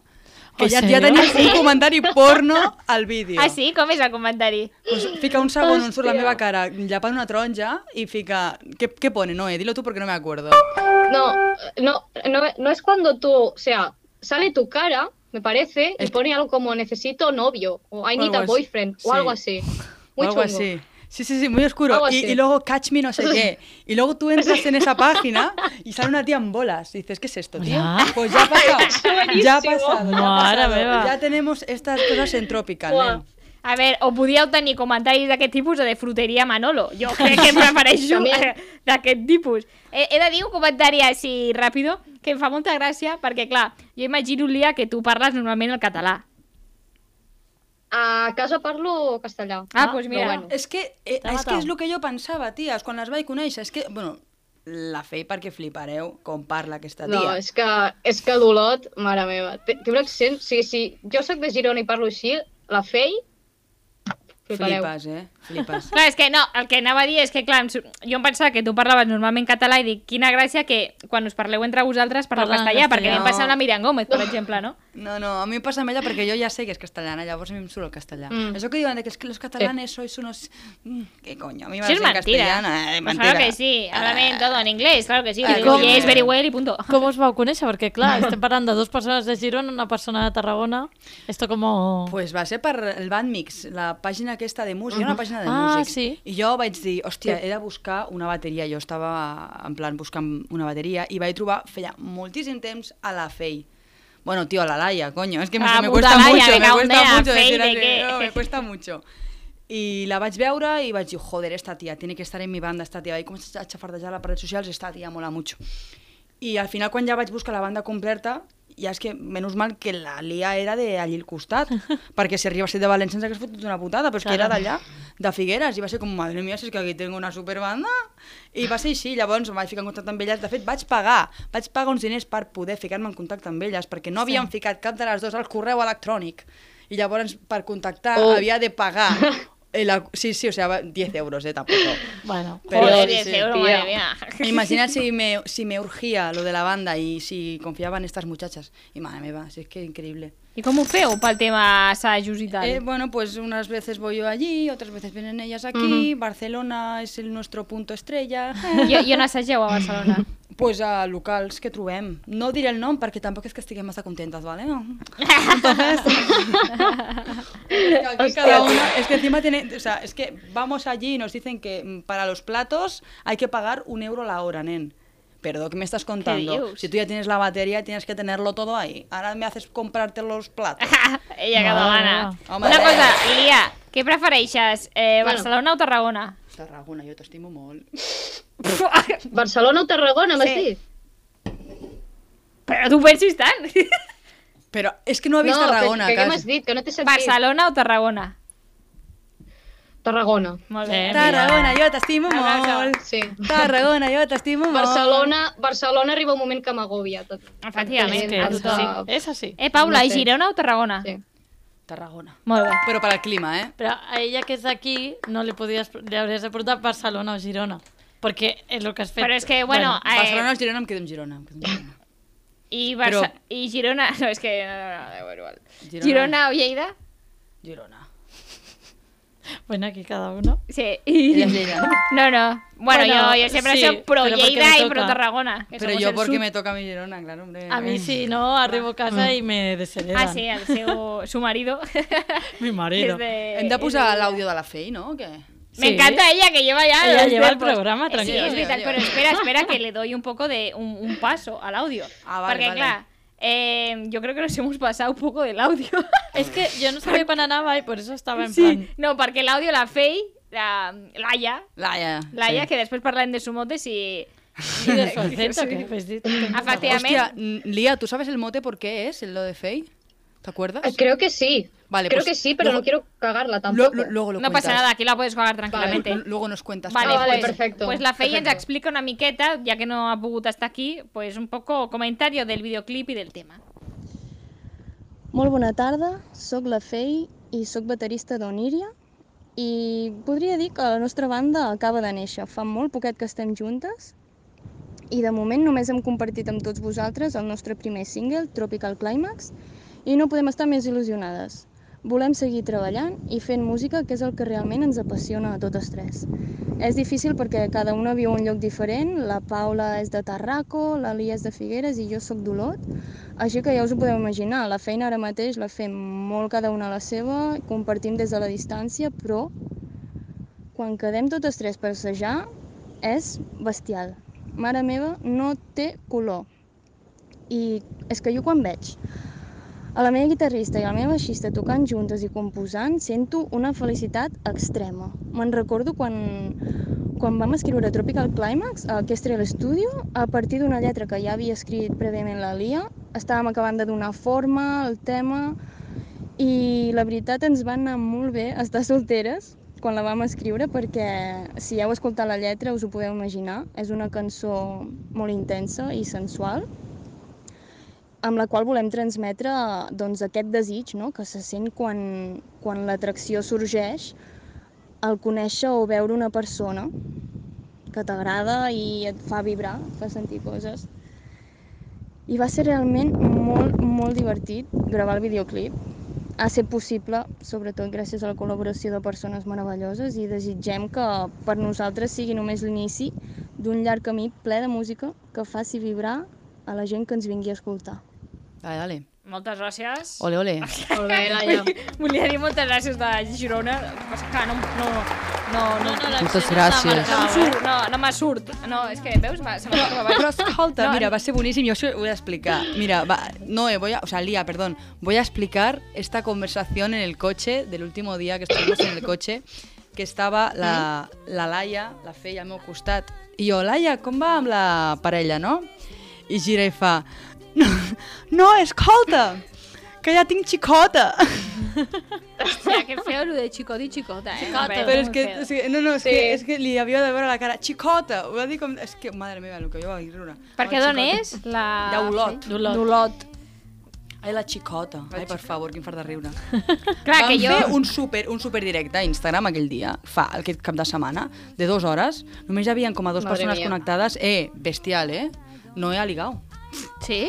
Speaker 4: que
Speaker 3: Oh,
Speaker 4: ja, ja
Speaker 3: sèrio?
Speaker 4: tenim un comentari porno al vídeo.
Speaker 1: Ah, sí? Com és el comentari?
Speaker 4: Pues fica un segon on surt la meva cara llapant una taronja i fica... Què, què pone, Noé? Dilo tu perquè no me acuerdo.
Speaker 7: No, no, no, no es cuando tú, o sea, sale tu cara, me parece, y
Speaker 4: Es-
Speaker 7: pone algo como necesito novio, o I
Speaker 4: O
Speaker 7: need
Speaker 4: algo
Speaker 7: a
Speaker 4: así.
Speaker 7: boyfriend,
Speaker 4: Sí.
Speaker 7: o algo así.
Speaker 4: O
Speaker 7: Muy
Speaker 4: algo
Speaker 7: chungo.
Speaker 4: así. Sí, sí, sí, muy oscuro.
Speaker 7: Algo
Speaker 4: Y,
Speaker 7: así.
Speaker 4: y luego catch me no sé qué. Y luego tú entras en esa página y sale una tía en bolas. Y dices, ¿qué es esto, tío?
Speaker 3: Hola.
Speaker 4: Pues ya ha pasado. ya ha pasado. Ya, ha
Speaker 3: Mare
Speaker 4: pasado.
Speaker 3: meva.
Speaker 4: ya tenemos estas cosas en Tropical.
Speaker 7: Buah.
Speaker 4: nen.
Speaker 1: A ver, o podíeu tenir comentaris d'aquest tipus o de fruteria Manolo. Jo crec que eh, em prefereixo
Speaker 7: També.
Speaker 1: d'aquest tipus. Eh, He, he de dir un comentari així ràpido que em fa molta gràcia perquè, clar, jo imagino, Lia, que tu parles normalment el català.
Speaker 7: A casa parlo castellà.
Speaker 1: Ah, doncs mira.
Speaker 7: Però bueno.
Speaker 4: Es que, eh,
Speaker 3: T'ha
Speaker 4: es que
Speaker 3: matat.
Speaker 4: és el que jo pensava, ties, quan les vaig conèixer. És que, bueno, la fei perquè flipareu com parla aquesta tia.
Speaker 7: No, és que, és que d'Olot, mare meva, té, té un accent... O sigui, si jo sóc de Girona i parlo així, la Fei Flipareu.
Speaker 4: Flipes, eh? Flipes.
Speaker 1: Clar, és que no, el que anava a dir és que, clar, em su- jo em pensava que tu parlaves normalment català i dic, quina gràcia que quan us parleu entre vosaltres parleu
Speaker 3: Parlen
Speaker 1: castellà, perquè a mi
Speaker 3: castellà.
Speaker 1: em passa amb la Miriam Gómez, per exemple, no?
Speaker 4: No, no, a mi em passa amb ella perquè jo ja sé que és castellana, llavors a mi em surt el castellà.
Speaker 7: Mm.
Speaker 4: Mm. Això que diuen de que, es
Speaker 1: Eh.
Speaker 4: que los catalanes sois unos... Mm, ¿Qué coño? A mí me va
Speaker 1: Això
Speaker 4: a
Speaker 1: és
Speaker 4: decir
Speaker 1: mentira.
Speaker 4: castellana. Eh,
Speaker 1: Pues
Speaker 4: mentira.
Speaker 1: claro que sí, hablan todo en inglés, claro que sí.
Speaker 4: Ah,
Speaker 1: I
Speaker 3: com-
Speaker 1: com... Yes, very well i punto.
Speaker 3: Com us vau conèixer? Perquè, clar, estem parlant de dues persones de Girona, una persona de Tarragona. Esto como...
Speaker 4: Pues va ser per el Bandmix, la pàgina aquesta de música, una pàgina de
Speaker 3: Ah,
Speaker 4: músics.
Speaker 3: sí.
Speaker 4: I jo vaig dir, hòstia, he de buscar una bateria. Jo estava en plan buscant una bateria i vaig trobar, feia moltíssim temps, a la FEI. Bueno, tío, a la Laia, coño, es que me,
Speaker 1: Ah,
Speaker 4: me
Speaker 1: puta
Speaker 4: cuesta
Speaker 1: Laia,
Speaker 4: mucho, me
Speaker 1: venga,
Speaker 4: cuesta
Speaker 1: hombre, a
Speaker 4: mucho
Speaker 1: Fey,
Speaker 4: decir
Speaker 1: ¿de
Speaker 4: así,
Speaker 1: qué?
Speaker 4: no, me cuesta mucho. I la vaig veure i vaig dir, joder, esta tia, tiene que estar en mi banda, esta tia. I començar a xafardejar les redes socials, esta tia mola mucho. I al final, quan ja vaig buscar la banda completa, ja és que, menys mal que la Lia era de allí al costat, perquè si arriba a ser de València ens hagués fotut una putada, però és que era d'allà, de Figueres, i va ser com, madre mia, si és que aquí tinc una superbanda, i va ser així, llavors em vaig ficar en contacte amb elles, de fet vaig pagar, vaig pagar uns diners per poder ficar-me en contacte amb elles, perquè no havíem ficat cap de les dues al correu electrònic, i llavors per contactar
Speaker 7: Oh.
Speaker 4: havia de pagar, el, sí, sí, o sea, va- 10 euros, eh, tampoc.
Speaker 3: Bueno,
Speaker 4: Pero
Speaker 1: Joder,
Speaker 4: sí,
Speaker 1: 10
Speaker 4: sí,
Speaker 1: euros,
Speaker 7: tía.
Speaker 1: madre mía.
Speaker 4: Imagina si me, si me urgía lo de la banda y si confiaba en estas muchachas. Y madre me va, si es que increíble.
Speaker 1: I com ho feu pel tema assajos i tal?
Speaker 4: Eh, bueno, pues unas veces voy yo allí, otras veces vienen ellas aquí. Barcelona es el nuestro punto estrella.
Speaker 1: I, I on assageu a Barcelona?
Speaker 4: pues a locals que trobem. No diré el nom perquè tampoc és que estiguem massa contentes, ¿vale? No. Entonces, aquí cada uno, es que encima tiene, o sea, es que vamos allí y nos dicen que mm, para los platos hay que pagar un euro la hora, nen. Pero ¿qué me estás contando?
Speaker 1: dius?
Speaker 4: Si tú ya tienes la batería, tienes que tenerlo todo ahí. Ahora me haces comprarte los platos.
Speaker 1: Ella catalana.
Speaker 4: Home.
Speaker 1: Una cosa, Lia, què prefereixes, eh,
Speaker 7: Bueno.
Speaker 1: Barcelona o Tarragona?
Speaker 4: Tarragona, jo t'estimo molt.
Speaker 7: Barcelona o Tarragona, m'has
Speaker 1: Sí.
Speaker 7: dit?
Speaker 1: Però tu pensis tant.
Speaker 4: Però és que no ha vist Tarragona,
Speaker 7: que, que, què m'has
Speaker 4: quasi.
Speaker 7: dit? Que no t'he sentit.
Speaker 1: Barcelona o Tarragona?
Speaker 7: Tarragona.
Speaker 1: Molt bé.
Speaker 3: Bé.
Speaker 4: Tarragona, jo t'estimo
Speaker 1: Abraço.
Speaker 4: molt.
Speaker 7: Sí.
Speaker 4: Tarragona, jo t'estimo molt.
Speaker 7: Barcelona, Barcelona arriba un moment que m'agobia tot.
Speaker 1: Efectivament,
Speaker 7: És
Speaker 3: que
Speaker 1: a
Speaker 3: és
Speaker 1: tothom.
Speaker 7: Ah.
Speaker 3: així. És així.
Speaker 1: Eh, Paula,
Speaker 7: No
Speaker 1: no
Speaker 7: sé.
Speaker 1: Girona o Tarragona?
Speaker 7: Sí.
Speaker 4: Tarragona.
Speaker 1: Molt bé.
Speaker 4: Però per al clima, eh?
Speaker 3: Però a ella que és d'aquí no li, podies, li hauries de portar Barcelona o Girona. Perquè és el que has fet.
Speaker 1: Però és que, bueno, eh,
Speaker 4: Barcelona o Girona, em quedo amb Girona. Em quedo amb Girona.
Speaker 1: i, Barça...
Speaker 4: però-
Speaker 1: i Girona... No, és que... No, no, no, no, igual.
Speaker 4: Girona.
Speaker 1: Girona. o Lleida?
Speaker 4: Girona.
Speaker 3: Bueno, aquí cada uno.
Speaker 1: Sí.
Speaker 4: Ella es Lleida.
Speaker 1: No, no. Bueno,
Speaker 3: Bueno,
Speaker 1: jo, jo sempre
Speaker 3: sí,
Speaker 1: soc pro
Speaker 3: però perquè
Speaker 1: Lleida
Speaker 3: me
Speaker 1: i pro
Speaker 3: toca.
Speaker 1: Tarragona. que
Speaker 4: Però
Speaker 1: somos
Speaker 4: jo
Speaker 1: el
Speaker 4: perquè
Speaker 1: sud.
Speaker 4: me toca a mi Girona, claro, hombre. Eh,
Speaker 3: A mi si no, arribo a casa i me desheredo.
Speaker 1: Mm. Ah, sí, el seu... su marido.
Speaker 3: Mi marido.
Speaker 1: És de-
Speaker 4: Hem de
Speaker 1: és
Speaker 4: posar
Speaker 1: de-
Speaker 4: l'àudio de la Fei, no? Que...
Speaker 1: Me
Speaker 3: Sí.
Speaker 1: encanta ella, que lleva ya...
Speaker 3: Ella
Speaker 1: los
Speaker 3: lleva el
Speaker 1: tiempos.
Speaker 3: programa,
Speaker 1: Eh,
Speaker 3: tranquila.
Speaker 1: Sí, es vital,
Speaker 4: Lleva,
Speaker 1: pero
Speaker 4: lleva.
Speaker 1: espera, espera, que le doy un poco de... un, un paso al audio.
Speaker 4: Ah, vale,
Speaker 1: Porque,
Speaker 4: vale.
Speaker 1: claro, eh, yo creo que nos hemos pasado un poco del audio.
Speaker 3: És que jo no sabia quan anava i per això estava en plan...
Speaker 1: sí. No, perquè el audio la Fei, la Laia,
Speaker 4: Laia.
Speaker 1: Laia, que després parlem de sumotes i...
Speaker 3: I de solfeig, o què? Pues dit,
Speaker 1: Efectivament,
Speaker 4: Hòstia, n- Lia, ¿tú sabes el mote por qué es lo de Fei? ¿Te acuerdas?
Speaker 7: Eh, Creo que sí.
Speaker 4: Ah. Vale,
Speaker 7: Creo
Speaker 4: pues,
Speaker 7: que sí, pero
Speaker 4: luego-
Speaker 7: no quiero cagarla
Speaker 4: Lo-
Speaker 7: tampoco.
Speaker 4: lo- luego lo
Speaker 1: no pasa
Speaker 4: cuentas.
Speaker 1: nada, aquí la puedes jugar tranquilamente.
Speaker 4: L- Luego nos cuentas.
Speaker 1: Vale,
Speaker 7: Ah, vale,
Speaker 1: pues,
Speaker 7: perfecto,
Speaker 1: pues la Fei ens
Speaker 7: perfecto.
Speaker 1: explica una miqueta, ya que no ha pogut estar aquí, pues un poco comentario del videoclip y del tema.
Speaker 8: Molt bona tarda, sóc la Fei i sóc baterista d'Oníria i podria dir que la nostra banda acaba de néixer. Fa molt poquet que estem juntes i de moment només hem compartit amb tots vosaltres el nostre primer single, Tropical Climax, i no podem estar més il·lusionades. Volem seguir treballant i fent música, que és el que realment ens apassiona a totes tres. És difícil perquè cada una viu a un lloc diferent, la Paula és de Tarraco, la Lia és de Figueres i jo sóc d'Olot, així que ja us ho podeu imaginar, la feina ara mateix la fem molt cada una a la seva, compartim des de la distància, però quan quedem totes tres per assajar és bestial. Mare meva, no té color. I és que jo quan veig a la meva guitarrista i a la meva baixista tocant juntes i composant, sento una felicitat extrema. Me'n recordo quan, quan vam escriure Tropical Climax eh, a Kestrel Studio, a partir d'una lletra que ja havia escrit prèviament la Lia, estàvem acabant de donar forma al tema i la veritat ens va anar molt bé estar solteres quan la vam escriure perquè si heu escoltat la lletra us ho podeu imaginar, és una cançó molt intensa i sensual amb la qual volem transmetre doncs, aquest desig no? que se sent quan, quan l'atracció sorgeix al conèixer o veure una persona que t'agrada i et fa vibrar, et fa sentir coses. I va ser realment molt, molt divertit gravar el videoclip. Ha ser possible, sobretot gràcies a la col·laboració de persones meravelloses i desitgem que per nosaltres sigui només l'inici d'un llarg camí ple de música que faci vibrar a la gent que ens vingui a escoltar.
Speaker 4: Dale, dale.
Speaker 1: Moltes gràcies.
Speaker 4: Ole, ole.
Speaker 7: Molt bé, Laia.
Speaker 1: Volia dir moltes gràcies de Girona, però és que clar, no, no, no, no, no,
Speaker 3: la
Speaker 9: Moltes
Speaker 3: gent està
Speaker 9: gràcies.
Speaker 1: no,
Speaker 3: marcada,
Speaker 1: no,
Speaker 3: eh?
Speaker 1: no, no me surt. No, és que, veus, va, se m'ha de
Speaker 4: Pero
Speaker 1: acabar.
Speaker 4: escolta, mira, va a ser buenísimo, yo os voy a explicar. Mira, va, Noe, voy a, o sea, Lía, perdón, voy a explicar esta conversación en el coche del último día que estuvimos en el coche, que estava la, la Laia, la feia al meu costat, i jo, Laia, com va amb la parella, no? I gira i fa, no, no escolta, que ja tinc xicota.
Speaker 1: Hòstia, que feo lo de xicot i xicota, eh? Xicota,
Speaker 4: Però és que, o sigui, no, no, és, que,
Speaker 7: Sí.
Speaker 4: és que li havia de veure la cara, xicota, ho va dir com... És que, madre meva, el que jo vaig riure.
Speaker 1: Perquè
Speaker 4: Home,
Speaker 1: d'on és? La...
Speaker 4: D'Olot.
Speaker 3: D'Olot.
Speaker 1: Ah, D'Olot.
Speaker 4: Ai, la xicota. Ai, per favor, quin fart de riure.
Speaker 1: Clar,
Speaker 4: Vam
Speaker 1: que jo...
Speaker 4: fer un super, un super directe a Instagram aquell dia, fa aquest cap de setmana, de dues hores. Només hi havia com a dues
Speaker 7: Madre
Speaker 4: persones
Speaker 7: mía.
Speaker 4: connectades. Eh, bestial, eh? No he aligado.
Speaker 1: Sí?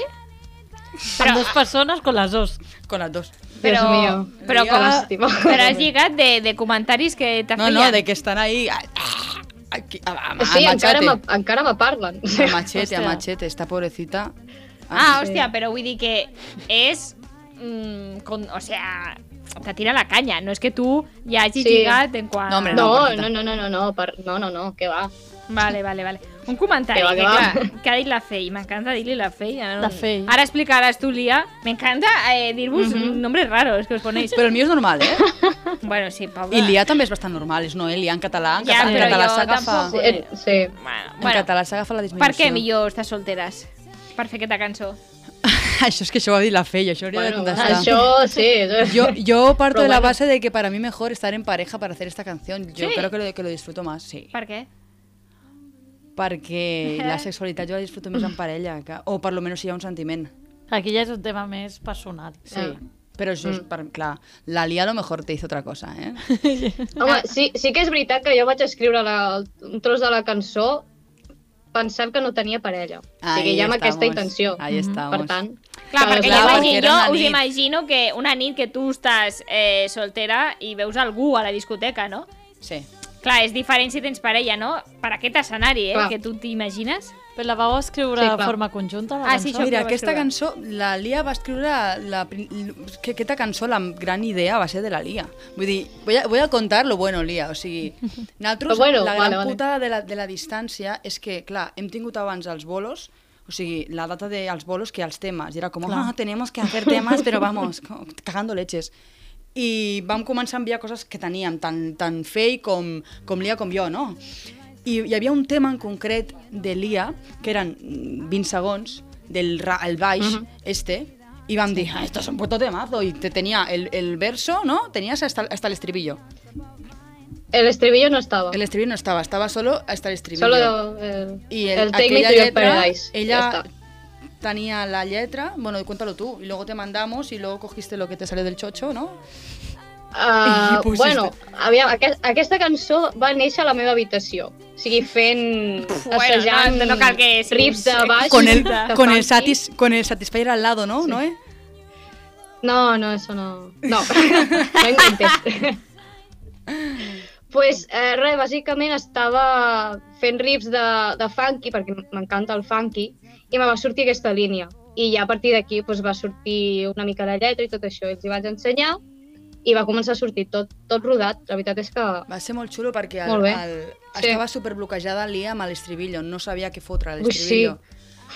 Speaker 3: Amb dos persones con las dos.
Speaker 4: Con las dos.
Speaker 1: Però,
Speaker 7: Dios mío.
Speaker 1: però,
Speaker 4: Dios.
Speaker 1: com,
Speaker 7: Lástima.
Speaker 1: però has lligat de, de comentaris que te
Speaker 4: No,
Speaker 1: feien.
Speaker 4: no, de que estan ahí... ah, Aquí, a, a, a,
Speaker 7: Sí, encara me,
Speaker 4: machete.
Speaker 7: encara me parlen.
Speaker 4: A machete, a
Speaker 3: Hòstia.
Speaker 4: machete. Esta pobrecita...
Speaker 1: Ah, hòstia, però vull dir que és... Mm, con, o sea, te tira la canya. No és que tu ja hagis
Speaker 7: Sí.
Speaker 1: lligat en quan...
Speaker 4: No, hombre, no.
Speaker 7: No,
Speaker 4: pobrecita.
Speaker 7: no, no, no, no, no, per... no, no, no, que va.
Speaker 1: Vale, vale, vale. Un comentari que,
Speaker 7: Que va,
Speaker 1: que,
Speaker 7: que va.
Speaker 1: clar, que ha dit la Fei. M'encanta dir-li la Fei. Ara, no-
Speaker 3: La Fei.
Speaker 1: Ara explicaràs tu, Lia. M'encanta eh, dir-vos nombres raros que us ponéis.
Speaker 4: Però el meu és normal, eh?
Speaker 1: Bueno, sí, Paula.
Speaker 4: I l'IA també és bastant normal, és Noelia en català. En,
Speaker 1: Ja,
Speaker 4: català- en
Speaker 1: però
Speaker 4: català
Speaker 1: jo
Speaker 4: s'agafa...
Speaker 1: tampoc-
Speaker 7: Sí, eh, sí.
Speaker 1: Bueno,
Speaker 4: En
Speaker 1: bueno
Speaker 4: català s'agafa la disminució.
Speaker 1: per què millor estar solteres? Per fer aquesta cançó.
Speaker 4: això és que això ho ha dit la Feia, això hauria
Speaker 1: doncs
Speaker 4: de contestar.
Speaker 7: Això sí.
Speaker 4: Yo, yo parto
Speaker 7: Pero
Speaker 4: de la
Speaker 7: bueno.
Speaker 4: base de que para mí mejor estar en pareja para hacer esta canción. Yo
Speaker 1: Sí.
Speaker 4: creo que lo, que lo disfruto más, sí.
Speaker 1: Per què?
Speaker 4: Perquè la sexualitat jo la disfruto més en parella, que, o per lo menos hi ha un sentiment.
Speaker 3: Aquí ja és un tema més personal.
Speaker 4: Sí. Però això és, per, clar, la Lia a lo mejor te hizo otra cosa, eh?
Speaker 7: Home, sí, sí que és veritat que jo vaig escriure la, un tros de la cançó pensant que no tenia parella. o sigui,
Speaker 4: Ahí
Speaker 7: ja amb
Speaker 4: estamos,
Speaker 7: aquesta intenció. Mm-hmm.
Speaker 4: ahí estamos.
Speaker 7: Per tant...
Speaker 1: Clar, perquè
Speaker 4: clar,
Speaker 1: jo,
Speaker 4: perquè
Speaker 1: imagino,
Speaker 4: era
Speaker 1: jo
Speaker 4: una
Speaker 1: us
Speaker 4: nit.
Speaker 1: imagino que una nit que tu estàs eh, soltera i veus algú a la discoteca, no?
Speaker 4: Sí.
Speaker 1: Clar, és diferent si tens parella, no? Per aquest escenari, eh?
Speaker 7: Clar.
Speaker 1: Que tu t'imagines.
Speaker 3: Però la vau escriure
Speaker 7: Sí,
Speaker 3: de
Speaker 7: clar.
Speaker 3: forma conjunta, la
Speaker 1: Ah, sí,
Speaker 3: cançó?
Speaker 1: això-
Speaker 4: Mira,
Speaker 1: que va
Speaker 4: aquesta
Speaker 1: escriure.
Speaker 4: cançó, la Lia va escriure... La, pri- que aquesta cançó, la gran idea va ser de la Lia. Vull dir, voy a, voy a contar lo bueno, Lia. O sigui, nosaltres,
Speaker 7: Lo bueno,
Speaker 4: la gran
Speaker 7: vale, vale.
Speaker 4: putada de la, de la distància és que, clar, hem tingut abans els bolos, o sigui, la data dels bolos que els temes. I era com, ah, tenemos que hacer temas, però vamos, co- cagando leches. I vam començar a enviar coses que teníem, tant, tant Fei com, com Lia com jo, no? I hi havia un tema en concret de l'IA, que eren mm, 20 segons, del ra- el baix,
Speaker 7: Mhm.
Speaker 4: este, i vam dir, ah, esto es un puto temazo, i te tenia el, el verso, ¿no? Tenías hasta, hasta el estribillo.
Speaker 7: El estribillo no estava.
Speaker 4: El estribillo no estaba, estaba solo hasta el estribillo.
Speaker 7: Solo el,
Speaker 4: y
Speaker 7: el,
Speaker 4: el,
Speaker 7: Take Me
Speaker 4: aquella
Speaker 7: to Your
Speaker 4: letra,
Speaker 7: Paradise.
Speaker 4: Ella
Speaker 7: Ja està.
Speaker 4: tenía la letra, bueno, cuéntalo tú, y luego te mandamos y luego cogiste lo que te salió del chocho, ¿no?
Speaker 7: Uh,
Speaker 4: I pusiste.
Speaker 7: bueno, aviam, aquest, aquesta cançó va néixer a la meva habitació. O sigui, fent...
Speaker 1: bueno,
Speaker 7: assajant
Speaker 1: no- no cal que siguis
Speaker 7: riffs de baix.
Speaker 4: Con el,
Speaker 7: de
Speaker 4: con el,
Speaker 7: funky.
Speaker 4: satis, con el Satisfyer al lado, ¿no? ¿No eh?
Speaker 7: No, no, eso no. No, no inventes. pues eh, res, bàsicament estava fent rips de, de funky, perquè m'encanta el funky, i me va sortir aquesta línia. I ja a partir d'aquí pues, va sortir una mica la lletra i tot això, i els hi vaig ensenyar, i va començar a sortir tot, tot rodat. La veritat és que...
Speaker 4: Va ser molt xulo perquè el,
Speaker 7: Molt bé.
Speaker 4: el,
Speaker 7: Sí.
Speaker 4: estava superbloquejada l'Ia amb l'estribillo, no sabia què fotre a
Speaker 7: Ui,
Speaker 4: l'estribillo.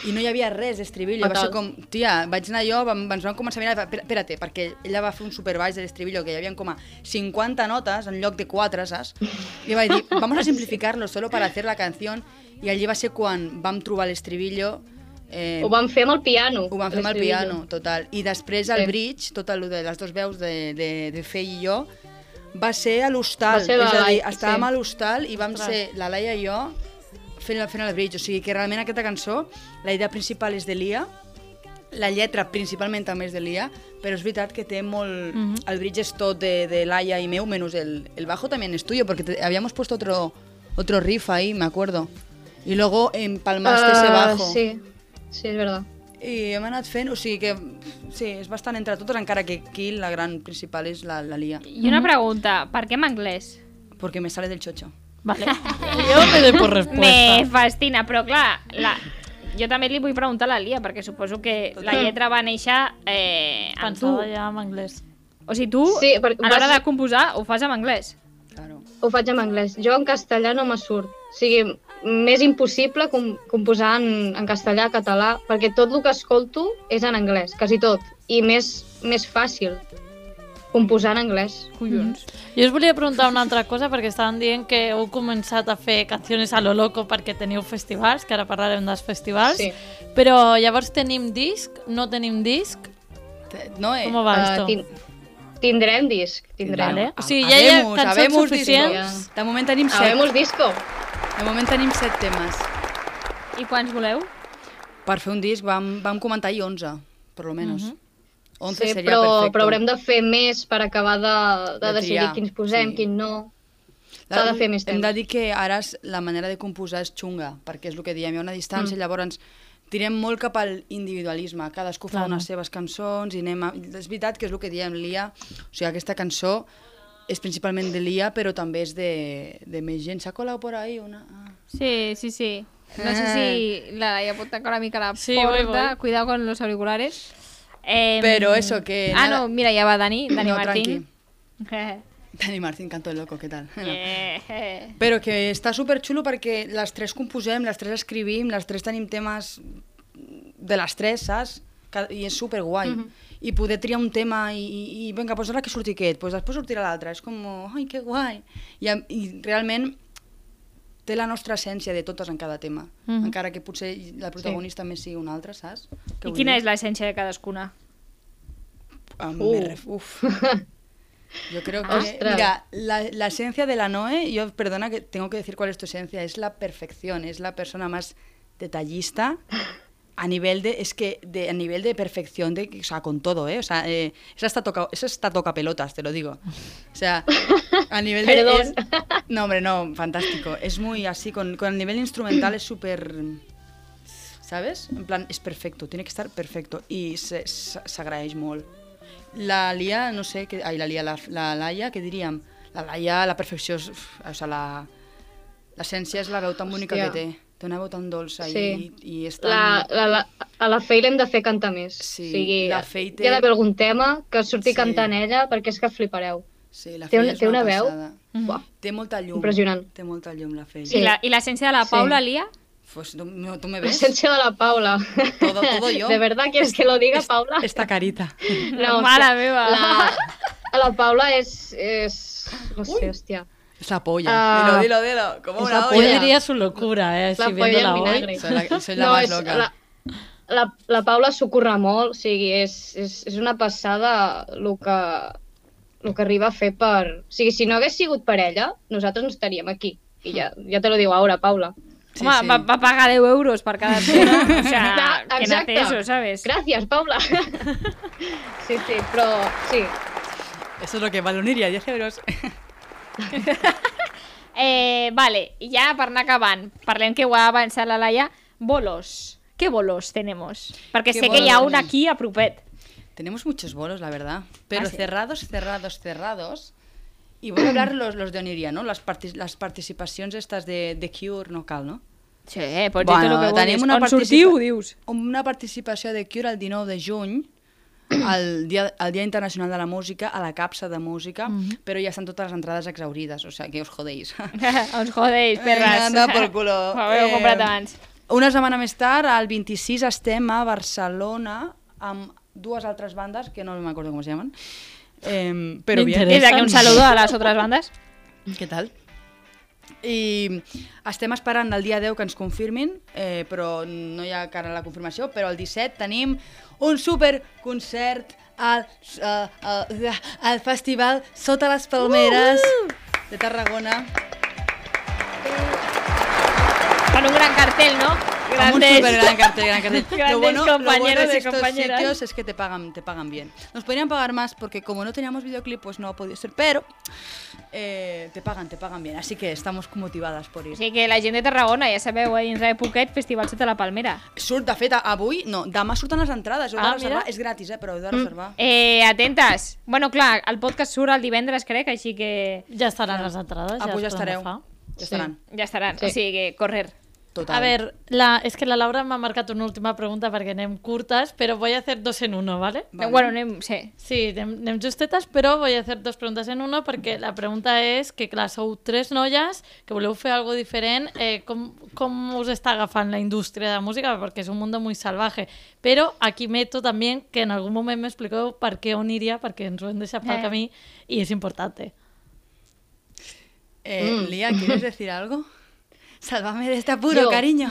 Speaker 4: I no hi havia res d'estribillo, va
Speaker 7: Fatal.
Speaker 4: ser com, tia, vaig anar jo, vam, ens vam començar a mirar, "Espera- espérate, perquè ella va fer un superbaix de l'estribillo, que hi havia com a 50 notes en lloc de 4, saps? I vaig dir, vamos a simplificarlo solo para hacer la canción, i allí va ser quan vam trobar l'estribillo, eh,
Speaker 7: Ho vam fer amb el piano.
Speaker 4: ho vam fer amb el
Speaker 7: l'estribillo.
Speaker 4: piano, total. I després el
Speaker 7: Sí.
Speaker 4: bridge, tot el de les dues veus de, de, de Fei i jo, va ser a l'hostal.
Speaker 7: Va
Speaker 4: És
Speaker 7: ser la
Speaker 4: a dir,
Speaker 7: Lai-
Speaker 4: estàvem
Speaker 7: sí.
Speaker 4: a l'hostal i vam
Speaker 3: Ostres.
Speaker 4: ser la Laia i jo fent, fent el bridge. O sigui que realment aquesta cançó, la idea principal és de Lia, la lletra principalment també és de l'IA, però és veritat que té molt...
Speaker 7: Mhm.
Speaker 4: El bridge és tot de, de l'Aya i meu, menys el, el bajo també és tuyo, porque te- habíamos puesto otro, otro riff ahí, me acuerdo. Y luego empalmaste ese
Speaker 7: Ah,
Speaker 4: bajo.
Speaker 7: Sí, sí, és verdad.
Speaker 4: I hem anat fent, o sigui que sí, és bastant entre totes, encara que aquí la gran principal és la, la Lia,
Speaker 1: Y
Speaker 7: Mhm.
Speaker 1: una pregunta, ¿para qué en inglés?
Speaker 4: perquè me sale del xocho.
Speaker 3: Vale. Yo me doy por respuesta.
Speaker 1: Me fascina, però clar, la... jo també li vull preguntar a la Lia, perquè suposo que la lletra va néixer eh, amb tu.
Speaker 3: Pensaba ya en anglès.
Speaker 1: O sigui, tu,
Speaker 7: Sí,
Speaker 1: a
Speaker 7: per-
Speaker 1: l'hora
Speaker 7: vas-
Speaker 1: de composar, ho fas en anglès.
Speaker 4: Claro.
Speaker 7: Ho faig en anglès. Jo en castellà no me surt. O sigui, m'és impossible com, composar en, en castellà, català, perquè tot el que escolto és en anglès, quasi tot. I més, més fàcil composar en anglès.
Speaker 1: Collons. Mm
Speaker 3: Jo us volia preguntar una altra cosa, perquè estaven dient que heu començat a fer canciones a lo loco perquè teniu festivals, que ara parlarem dels festivals,
Speaker 7: Sí.
Speaker 3: però llavors tenim disc, no tenim disc,
Speaker 4: Te- No, eh?
Speaker 3: com va
Speaker 7: Eh,
Speaker 3: esto?
Speaker 7: tin- tindrem disc, tindrem.
Speaker 3: Vale.
Speaker 4: A-
Speaker 3: O sigui, ja hi ha
Speaker 4: habemus-
Speaker 3: cançons
Speaker 4: habemus
Speaker 3: suficients.
Speaker 4: discos. De moment tenim set.
Speaker 7: Habemos disco.
Speaker 4: De moment tenim set temes.
Speaker 1: I quants voleu?
Speaker 4: Per fer un disc vam, vam comentar i 11, per lo menos. 11
Speaker 7: Sí,
Speaker 4: seria
Speaker 7: però,
Speaker 4: perfecte.
Speaker 7: però haurem de fer més per acabar de, de,
Speaker 4: De
Speaker 7: decidir
Speaker 4: triar,
Speaker 7: quins posem,
Speaker 4: sí.
Speaker 7: quins no. S'ha de fer més
Speaker 4: Hem
Speaker 7: temps.
Speaker 4: de dir que ara es- la manera de composar és xunga, perquè és el que diem, hi ha una distància, mm. llavors tirem molt cap al individualisme, cadascú fa
Speaker 3: Clar.
Speaker 4: unes seves cançons i anem a... És veritat que és el que diem, l'IA, o sigui, aquesta cançó és principalment de l'IA, però també és de, de més gent. S'ha colat per ahí una... Ah.
Speaker 1: Sí, sí, sí. No sé si la Laia pot tancar una mica la
Speaker 3: Sí,
Speaker 1: porta.
Speaker 3: voy, voy.
Speaker 1: Cuidado con los auriculares. Eh,
Speaker 4: Pero eso, que
Speaker 1: Ah,
Speaker 4: nada-
Speaker 1: no, mira, ja va Dani, Dani
Speaker 4: No,
Speaker 1: Martín.
Speaker 4: Dani Martín, canto el loco, què tal?
Speaker 1: Eh, eh.
Speaker 4: Però que està superxulo perquè les tres composem, les tres escrivim, les tres tenim temes de les tres, saps? Ca- I és superguai.
Speaker 1: Mhm.
Speaker 4: I poder triar un tema i, i, i vinga, doncs ara que surti aquest, doncs després sortirà l'altre. És com, ai, que guai. I, am- I realment té la nostra essència de totes en cada tema.
Speaker 1: Mhm.
Speaker 4: Encara que potser la protagonista sí. més sigui una altra, saps?
Speaker 1: I quina és l'essència de cadascuna?
Speaker 4: Um,
Speaker 7: Uh.
Speaker 4: me ref- Uf. Yo creo que.
Speaker 7: Ostras.
Speaker 4: Mira, la, la esencia de la Noe, yo perdona que tengo que decir cuál es tu esencia, es la perfección, es la persona más detallista a nivel de es que de a nivel de perfección de o sea con todo eh o sea eh, esa está toca esa está toca pelotas te lo digo o sea a nivel de
Speaker 7: Perdón.
Speaker 4: es- no hombre no fantástico es muy así con con el nivel instrumental es súper ¿Sabes? En plan, es perfecto, tiene que estar perfecto. I se- se- s'agraeix molt. La Lia, no sé, que, ai, la Lia, la, la Laia, què diríem? La Laia, la perfecció, és, uf, o sigui, la- l'essència és la veu tan bonica
Speaker 7: Hòstia.
Speaker 4: que té. Té una veu tan dolça
Speaker 7: Sí.
Speaker 4: i, i és tan...
Speaker 7: La, la, la, a la Fei l'hem de fer cantar més.
Speaker 4: Sí,
Speaker 7: o sigui,
Speaker 4: la Fei té-
Speaker 7: hi ha d'haver algun tema que surti
Speaker 4: Sí.
Speaker 7: cantant ella perquè és que flipareu.
Speaker 4: Sí, la
Speaker 7: Té,
Speaker 4: Fei
Speaker 7: un,
Speaker 4: és
Speaker 7: té una veu...
Speaker 4: passada.
Speaker 7: Buah.
Speaker 4: Té molta llum.
Speaker 7: Impressionant.
Speaker 4: Té molta llum, la Fei.
Speaker 7: Sí.
Speaker 1: I la- I l'essència de la
Speaker 7: Sí.
Speaker 1: Paula, Lia?
Speaker 4: Pues, tu, no, tu me ves?
Speaker 7: L'essència de la Paula.
Speaker 4: Todo- todo yo.
Speaker 7: ¿De verdad quieres que lo diga, Paula?
Speaker 4: Esta carita.
Speaker 7: No,
Speaker 1: Mare
Speaker 7: hòstia,
Speaker 1: meva.
Speaker 7: La, la Paula és... és no sé, hòstia.
Speaker 4: Es la polla. dilo,
Speaker 7: Ah.
Speaker 4: dilo, dilo. Como
Speaker 3: Es
Speaker 4: una
Speaker 3: la- Yo
Speaker 4: olla.
Speaker 3: diría su locura, eh,
Speaker 7: La
Speaker 3: si
Speaker 7: polla
Speaker 3: viéndola
Speaker 7: en
Speaker 3: hoy.
Speaker 7: vinagre.
Speaker 4: Soy la, soy la
Speaker 7: no,
Speaker 4: más
Speaker 7: és
Speaker 4: loca.
Speaker 7: La, la, la Paula s'ho curra molt, o sigui, és, és, és una passada el que, el que arriba a fer per... O sigui, si no hagués sigut per ella, nosaltres no estaríem aquí. I ja, ja te lo digo ahora, Paula.
Speaker 4: Sí,
Speaker 1: Home,
Speaker 4: sí.
Speaker 1: Va, va pagar 10 euros per cada tiro. O sea,
Speaker 7: Clar,
Speaker 1: ¿quién hace
Speaker 7: exacte.
Speaker 1: eso, sabes?
Speaker 7: Gràcies, Paula. sí, sí, però sí.
Speaker 4: Eso es lo que vale unir a 10 euros.
Speaker 1: Eh, vale, i ja per anar acabant, parlem que ho ha avançat la Laia, bolos. Què bolos tenemos? Perquè
Speaker 4: Què
Speaker 1: sé que hi ha un
Speaker 4: bolos?
Speaker 1: aquí a propet.
Speaker 4: Tenemos muchos bolos, la verdad. Pero
Speaker 1: Ah, sí.
Speaker 4: cerrados, cerrados, cerrados. Y voy a hablar los, los de Oniria, ¿no? Las, parti- las participacions estas de, de Cure no cal, no?
Speaker 1: Sí, pots bueno, dir tot el que
Speaker 4: tenim
Speaker 1: vulguis.
Speaker 4: una
Speaker 1: On
Speaker 4: participa-
Speaker 1: sortiu, dius.
Speaker 4: Una participació de Cure el 19 de juny, el dia, el dia Internacional de la Música, a la capsa de música, però ja estan totes les entrades exaurides, o sea, que us jodéis.
Speaker 1: Os jodeis, perras.
Speaker 4: Eh, anda por culo.
Speaker 1: Ho haveu
Speaker 4: Eh,
Speaker 1: comprat abans.
Speaker 4: Una setmana més tard, el 26, estem a Barcelona amb dues altres bandes, que no m'acordo com es llaman, eh, però bien.
Speaker 3: M'interessa.
Speaker 1: Des d'aquí un saludo a les altres bandes.
Speaker 4: Què tal? I estem esperant el dia 10 que ens confirmin, eh, però no hi ha cara a la confirmació, però el 17 tenim un super concert al, al, al, al festival Sota les Palmeres
Speaker 1: Uhuh!
Speaker 4: de Tarragona.
Speaker 1: Con un gran cartel, no?
Speaker 4: Vamos
Speaker 1: Grandes.
Speaker 4: súper gran cartel, gran cartel.
Speaker 1: Grandes compañeros y
Speaker 4: de estos
Speaker 1: compañeras.
Speaker 4: sitios es que te pagan, te pagan bien. Nos podrían pagar más porque como no teníamos videoclip, pues no ha podido ser, pero eh, te pagan, te pagan bien. Así que estamos motivadas por ir.
Speaker 1: Així que la gent de Tarragona, ja sabeu, eh, dins de poquet, Festival Sota la Palmera.
Speaker 4: Surt, de fet, avui, no, demà surten les entrades, heu de
Speaker 3: Ah,
Speaker 4: reservar,
Speaker 3: mira.
Speaker 4: és gratis, eh, però heu de reservar.
Speaker 1: Eh, atentes. Bueno, clar, el podcast surt el divendres, crec, així que
Speaker 3: Ya estarán las entradas.
Speaker 4: Ah, pues ja
Speaker 3: es podem
Speaker 4: estareu.
Speaker 3: agafar.
Speaker 4: Ja estaran.
Speaker 1: ja estaran.
Speaker 7: Sí.
Speaker 1: Sí. O sigui que correr.
Speaker 4: Total.
Speaker 3: A ver, la, es que la Laura me ha marcado una última pregunta para que anem curtas, pero voy a hacer dos en uno, ¿vale?
Speaker 4: Vale.
Speaker 1: Bueno, anem, sí.
Speaker 3: Sí, anem, anem justetes, però vull fer dues preguntes en una perquè la pregunta és que, clar, sou tres noies que voleu fer algo diferent. Eh, com, com us està agafant la indústria de la música? Perquè és un mundo muy salvaje. Però aquí meto també que en algun moment m'expliqueu per què on iria, perquè ens ho hem deixat pel
Speaker 1: Eh.
Speaker 3: camí i és important.
Speaker 4: Eh,
Speaker 7: Mm.
Speaker 4: Lía, ¿quieres decir algo? Sálvame de este apuro,
Speaker 7: Yo.
Speaker 4: cariño.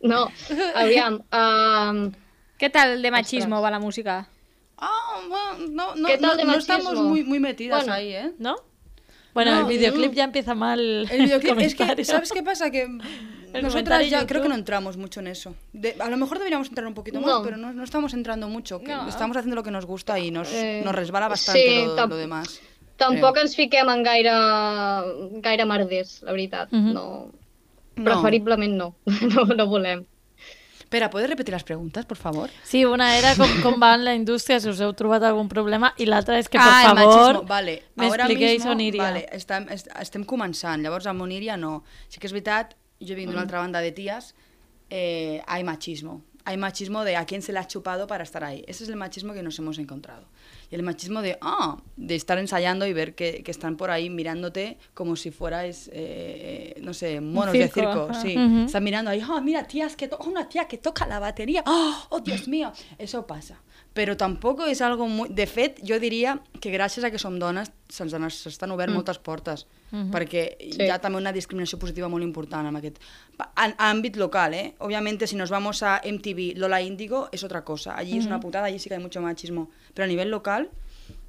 Speaker 7: No, aviam. Um,
Speaker 1: Què tal de machismo va la música?
Speaker 4: Ah, bueno, no, no,
Speaker 7: ¿Qué
Speaker 4: no,
Speaker 7: tal de
Speaker 4: no
Speaker 7: machismo?
Speaker 4: estamos muy, muy metidas
Speaker 7: Bueno.
Speaker 4: ahí, ¿eh?
Speaker 3: No? Bueno,
Speaker 4: No,
Speaker 3: el videoclip
Speaker 7: no.
Speaker 3: ja empieza mal.
Speaker 4: El videoclip, es
Speaker 3: comentario.
Speaker 4: que, ¿sabes qué pasa? Que nosotras
Speaker 3: comentario
Speaker 4: ya
Speaker 3: YouTube.
Speaker 4: creo que no entramos mucho en eso. De- a lo mejor deberíamos entrar un poquito más,
Speaker 7: No.
Speaker 4: pero no, no estamos entrando mucho. que
Speaker 1: No.
Speaker 4: Estamos haciendo lo que nos gusta y nos,
Speaker 7: Eh,
Speaker 4: nos resbala bastante
Speaker 7: sí,
Speaker 4: lo,
Speaker 7: tam-
Speaker 4: lo demás.
Speaker 7: tampoc ens fiquem en gaire, gaire merders, la veritat.
Speaker 3: Mhm.
Speaker 7: No,
Speaker 4: No.
Speaker 7: preferiblement no. No, no volem.
Speaker 4: Espera, ¿puedes repetir las preguntas, por favor?
Speaker 3: Sí, una era com, com va en la indústria, si us heu trobat algun problema, i l'altra és que, per
Speaker 4: ah, el
Speaker 3: favor,
Speaker 4: machisme. Vale, ara
Speaker 3: m'expliqueu
Speaker 4: mismo,
Speaker 3: on iria.
Speaker 4: Vale, estem, est- estem començant, llavors amb Oníria no. Sí que és veritat, jo vinc d'una
Speaker 3: Mm.
Speaker 4: altra banda de tías, eh, hay machismo. Hay machismo de a quién se le ha chupado para estar ahí. Ese es el machismo que nos hemos encontrado. Y el machismo de, ah, de estar ensayando y ver que, que están por ahí mirándote como si fueras, eh, no sé, monos
Speaker 1: circo,
Speaker 4: de circo.
Speaker 1: ajá.
Speaker 4: Sí.
Speaker 3: Ujú.
Speaker 4: Están mirando ahí, ah, mira, tías, que to- una tía que toca la batería, oh, oh, Dios mío, eso pasa. Pero tampoco és algo muy... De fet, jo diria que gràcies a que som dones se'ns han- s'estan obert mm. moltes portes, mm -hmm. perquè sí. hi ha també una discriminació positiva molt important en aquest... pa- En, àmbit local, eh? Obviamente, si nos vamos a MTV, Lola Índigo, és otra cosa. Allí mm -hmm. és una putada, allí sí que hay mucho machismo. Pero a nivel local,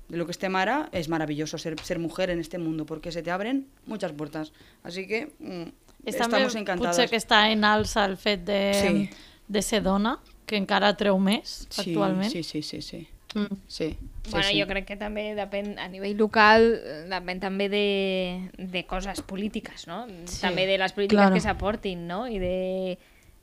Speaker 4: de lo que esté Mara, es maravilloso ser, ser mujer en este mundo, porque se te abren muchas puertas. Así que mm,
Speaker 3: És
Speaker 4: estamos
Speaker 3: també
Speaker 4: encantadas.
Speaker 3: Potser que està en alça el fet de,
Speaker 4: Sí.
Speaker 3: de ser dona, que encara treu més
Speaker 4: Sí,
Speaker 3: actualment.
Speaker 4: Sí, sí, sí, sí.
Speaker 7: Mm.
Speaker 4: Sí,
Speaker 1: Sí,
Speaker 4: sí,
Speaker 1: bueno,
Speaker 4: sí.
Speaker 1: sí. jo crec que també depèn, a nivell local, eh, depèn també de, de coses polítiques, no? Sí, també de les polítiques
Speaker 4: claro.
Speaker 1: que s'aportin, no? I de...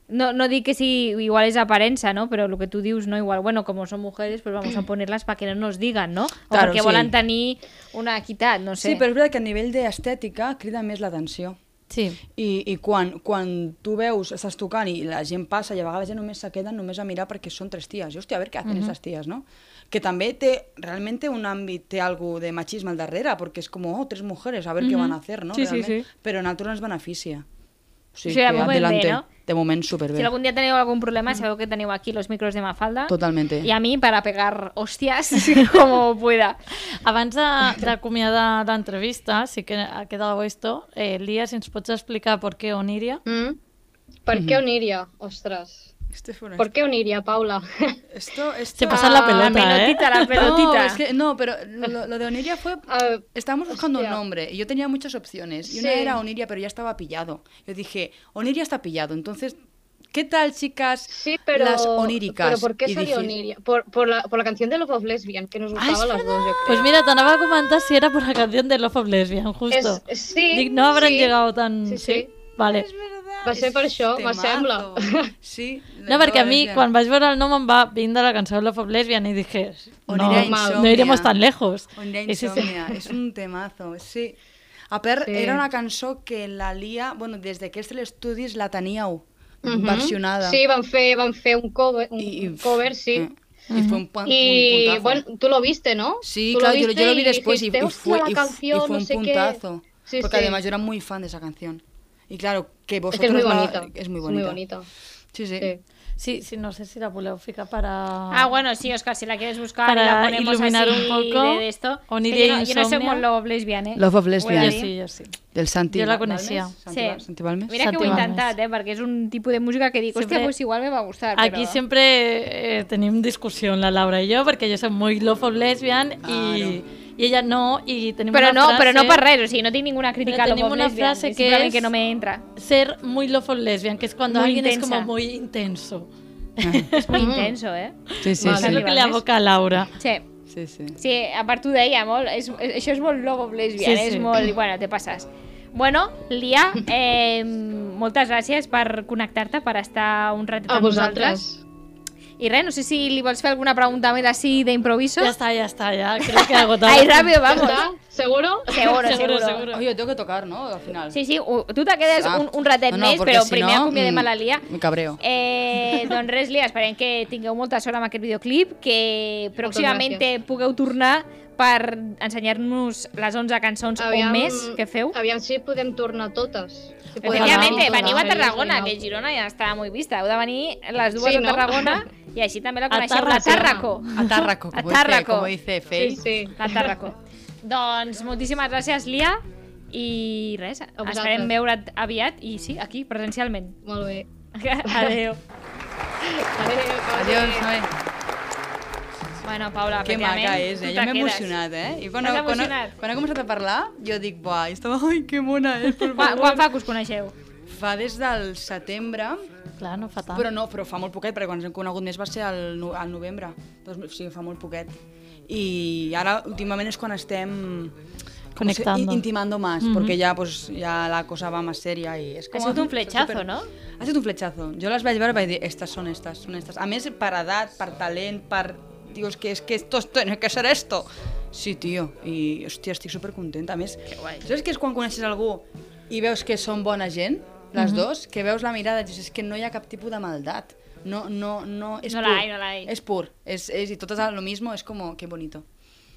Speaker 1: No, no dic que si igual és aparença, ¿no? Pero lo que tú dius, ¿no? Igual, bueno, como son mujeres, pues vamos a ponerlas para que no nos digan, ¿no? O
Speaker 4: Claro,
Speaker 1: porque
Speaker 4: sí.
Speaker 1: volen tenir una equitat, no sé.
Speaker 4: Sí, però és veritat que a nivell d'estètica crida més l'atenció.
Speaker 3: sí.
Speaker 4: I, I quan, quan tu veus, estàs tocant i la gent passa i a vegades ja només se queden només a mirar perquè són tres ties. I, hòstia, a veure què hacen aquestes ties, no? Que també té, realment té un àmbit, té algo de machisme al darrere, perquè és com, oh, tres mujeres, a veure què van a hacer, no?
Speaker 1: Sí, sí, sí.
Speaker 4: Però a nosaltres ens beneficia. O sigui,
Speaker 1: Sí, de
Speaker 4: que
Speaker 1: moment bé,
Speaker 4: adelante.
Speaker 1: no?
Speaker 4: De moment superbé.
Speaker 1: Si algún día teniu algún problema, sabeu que teniu aquí los micros de Mafalda.
Speaker 4: Totalmente.
Speaker 1: Y a mí para pegar hostias como pueda.
Speaker 3: Abans de- d'acomiadar l'entrevista, sí que ha quedat esto, eh, Lia, si ens pots explicar per què on iria?
Speaker 7: Mm? Per
Speaker 3: Mhm.
Speaker 7: què on iria? Ostres.
Speaker 4: Este fue una-
Speaker 7: Per què on iria, Paula?
Speaker 4: Esto, esto...
Speaker 3: Se pasa la
Speaker 1: la
Speaker 3: pelota,
Speaker 1: pelotita,
Speaker 3: eh?
Speaker 1: la pelotita.
Speaker 4: No, es que, no, pero lo, lo de Oniria fue...
Speaker 7: Ah,
Speaker 4: Estábamos buscando
Speaker 7: hostia.
Speaker 4: un nombre y yo tenía muchas opciones. Y una
Speaker 7: Sí.
Speaker 4: era Oniria, pero ya estaba pillado. Yo dije, Oniria está pillado, entonces, ¿qué tal, chicas?
Speaker 7: Sí, pero...
Speaker 4: Las oníricas.
Speaker 7: ¿Pero por qué
Speaker 4: Y dije-
Speaker 7: salió Oniria? Por, por, la, por la canción de Love of Lesbian, que nos
Speaker 3: Ah,
Speaker 7: gustaba a las dos, yo creo.
Speaker 3: Pues mira, t'anava a comentar si era por la canción de Love of Lesbian, justo.
Speaker 7: Es- sí,
Speaker 3: Dic, no habrán
Speaker 7: sí.
Speaker 3: llegado tan...
Speaker 7: Sí, sí.
Speaker 3: Vale.
Speaker 7: Va ser per això,
Speaker 4: Temazo.
Speaker 7: m'assembla.
Speaker 4: Sí.
Speaker 3: No, perquè a mi,
Speaker 4: lesbiana.
Speaker 3: quan vaig veure el nom, em va vindre la cançó de Love of Lesbian i dije, no,
Speaker 4: Oniria
Speaker 3: no
Speaker 4: Insomnia.
Speaker 3: iremos tan lejos.
Speaker 4: Oniria
Speaker 3: I sí, sí.
Speaker 4: Insomnia, es un temazo, sí. A per,
Speaker 7: Sí.
Speaker 4: era una cançó que la Lia, bueno, desde que Estel Studies la teníeu
Speaker 7: Mhm.
Speaker 4: versionada.
Speaker 7: Sí, van fer, van fer un cover, un
Speaker 4: Y- y-
Speaker 7: cover sí.
Speaker 3: mm.
Speaker 4: eh, Y fue un, pun-
Speaker 7: Y
Speaker 4: un puntazo.
Speaker 7: bueno, tú lo viste, ¿no?
Speaker 4: Sí,
Speaker 7: Tú
Speaker 4: claro, yo, lo- yo lo vi
Speaker 7: viste y
Speaker 4: después y,
Speaker 7: dijiste,
Speaker 4: y
Speaker 7: "Hostia,
Speaker 4: fue,
Speaker 7: la
Speaker 4: y, f- y
Speaker 7: canción,
Speaker 4: fue
Speaker 7: no
Speaker 4: un
Speaker 7: sé qué".
Speaker 4: puntazo.
Speaker 7: Sí,
Speaker 4: porque
Speaker 7: sí.
Speaker 4: además yo era muy fan de esa canción. Y claro, que
Speaker 7: Es
Speaker 4: vosotros...
Speaker 7: que es muy
Speaker 4: la-
Speaker 7: bonita.
Speaker 4: es muy
Speaker 7: es
Speaker 4: bonita.
Speaker 7: Muy bonita.
Speaker 4: Sí, sí.
Speaker 7: Sí.
Speaker 3: Sí, sí, no sé si la voleu ficar para...
Speaker 1: Ah, bueno, sí, Oscar, si la quieres buscar
Speaker 3: Para
Speaker 1: y la ponemos
Speaker 3: iluminar
Speaker 1: así
Speaker 3: un poco.
Speaker 1: de, de esto.
Speaker 3: Oniria
Speaker 1: Que yo, no, yo no soy
Speaker 3: Insomnia.
Speaker 1: muy love lesbian, eh?
Speaker 4: Love of
Speaker 1: Voy
Speaker 4: Lesbian,
Speaker 1: a
Speaker 3: Yo
Speaker 1: dir.
Speaker 3: sí, yo sí.
Speaker 4: del Santi.
Speaker 3: Jo la coneixia.
Speaker 4: Santi,
Speaker 1: Sí.
Speaker 4: Val- Santi Balmes.
Speaker 1: Mira que
Speaker 3: Santi
Speaker 1: voy
Speaker 3: Balmes.
Speaker 1: intentar, eh, porque es un tipo de música que digo, hostia,
Speaker 3: Siempre-
Speaker 1: pues igual me va a gustar,
Speaker 3: Aquí
Speaker 1: pero-
Speaker 3: siempre eh, tenim discussió la Laura i jo, perquè jo soc molt love of lesbian i, i ella no, i tenim
Speaker 1: Però
Speaker 3: una
Speaker 1: no,
Speaker 3: frase...
Speaker 1: però no per res, o sigui, no tinc ninguna crítica a
Speaker 3: Però
Speaker 1: lo
Speaker 3: tenim
Speaker 1: Bob
Speaker 3: una
Speaker 1: Lesbian,
Speaker 3: frase
Speaker 1: és
Speaker 3: que
Speaker 1: simplement
Speaker 3: és-
Speaker 1: que no me entra.
Speaker 3: Ser muy love for lesbian, que es cuando
Speaker 1: Muy
Speaker 3: alguien es
Speaker 1: intensa.
Speaker 3: como muy intenso.
Speaker 1: És molt intenso, eh?
Speaker 9: Sí, sí,
Speaker 3: Vale.
Speaker 9: sí.
Speaker 3: És el Ah, que li aboca a Laura.
Speaker 1: Sí,
Speaker 9: sí, sí.
Speaker 1: sí, a part ho deia, molt, és, és, això és molt logo lesbian,
Speaker 3: Sí,
Speaker 1: sí, sí.
Speaker 3: sí.
Speaker 1: és molt... Bueno, te passes. Bueno, Lia, eh, moltes gràcies per connectar-te, per estar un ratet
Speaker 7: A
Speaker 1: amb nosaltres.
Speaker 7: vosaltres.
Speaker 1: I res, no sé si li vols fer alguna pregunta més així d'improviso.
Speaker 3: Ya está, ya está, ya. Creo que he agotado.
Speaker 1: Ahí rápido,
Speaker 7: Ja
Speaker 1: vamos.
Speaker 7: està? Seguro?
Speaker 1: Seguro, seguro.
Speaker 3: Seguro,
Speaker 1: seguro.
Speaker 3: seguro.
Speaker 4: Oye, tengo que tocar, ¿no? Al final.
Speaker 1: Sí, sí, u- tu te quedes
Speaker 4: Ah.
Speaker 1: un, un ratet
Speaker 4: No, no,
Speaker 1: més,
Speaker 4: perquè
Speaker 1: però
Speaker 4: si
Speaker 1: primer
Speaker 4: no,
Speaker 1: acomiadem a la
Speaker 4: mm,
Speaker 1: Lia.
Speaker 4: me cabreo.
Speaker 1: Eh, doncs res, Lia, esperem que tingueu molta sort amb aquest videoclip, que pròximament pugueu tornar per ensenyar-nos les 11 cançons o més que feu.
Speaker 7: Aviam si podem tornar totes. Si podem
Speaker 1: Efectivament,
Speaker 7: tornar
Speaker 1: veniu a
Speaker 7: totes.
Speaker 1: Tarragona, que Girona ja està molt vista. Heu de venir les dues
Speaker 7: Sí,
Speaker 1: a
Speaker 7: no?
Speaker 1: Tarragona i així també la
Speaker 3: A
Speaker 1: coneixeu, la Tàrraco.
Speaker 3: Tàrraco.
Speaker 9: A Tárraco,
Speaker 1: A
Speaker 9: como, Dice,
Speaker 1: Tárraco.
Speaker 9: como dice Faye.
Speaker 7: Sí, sí.
Speaker 1: La Tàrraco. doncs moltíssimes gràcies, Lia, i res,
Speaker 7: vosaltres.
Speaker 1: esperem veure't aviat i sí, aquí, presencialment.
Speaker 7: Molt bé.
Speaker 1: Adeu.
Speaker 7: Adéu,
Speaker 4: Adiós, Noé.
Speaker 1: Bueno, Paula,
Speaker 4: Que
Speaker 1: efectivament,
Speaker 4: maca és,
Speaker 1: tu
Speaker 4: eh?
Speaker 1: te
Speaker 4: Jo m'he
Speaker 1: quedes.
Speaker 4: emocionat, eh? I quan,
Speaker 1: T'has
Speaker 4: quan,
Speaker 1: emocionat.
Speaker 4: quan he començat a parlar, jo dic, buah, i estava, ai, que mona és, per
Speaker 1: Quan,
Speaker 4: favor.
Speaker 1: quan fa que us coneixeu?
Speaker 4: Fa des del setembre,
Speaker 3: Clar, no fa tant.
Speaker 4: però no, però fa molt poquet, perquè quan ens hem conegut més va ser al, no- al novembre, dos, o sigui, fa molt poquet. I ara, últimament, és quan estem... com se-
Speaker 3: Conectando.
Speaker 4: i- intimando más, porque ya, pues, ya la cosa va más seria y
Speaker 1: Mm-hmm.
Speaker 4: es
Speaker 1: Ha
Speaker 4: como...
Speaker 1: sigut un fletxazo,
Speaker 4: super-
Speaker 1: no?
Speaker 4: Ha sigut un fletxazo. Jo les vaig veure i vaig dir, estas són estas, són estas. A més, per edat, per talent, per... Digo, es que, es que esto, esto, no que ser esto. Sí, tio, i hòstia, estic supercontenta. A més, saps que és quan coneixes algú i veus que són bona gent, les mm -hmm. dos, que veus la mirada i dius, és que no hi ha cap tipus de maldat. No, no, no, és
Speaker 1: No la
Speaker 4: pur.
Speaker 1: hay, no la hay.
Speaker 4: És pur. És, és, I totes a lo mismo, és com, que bonito.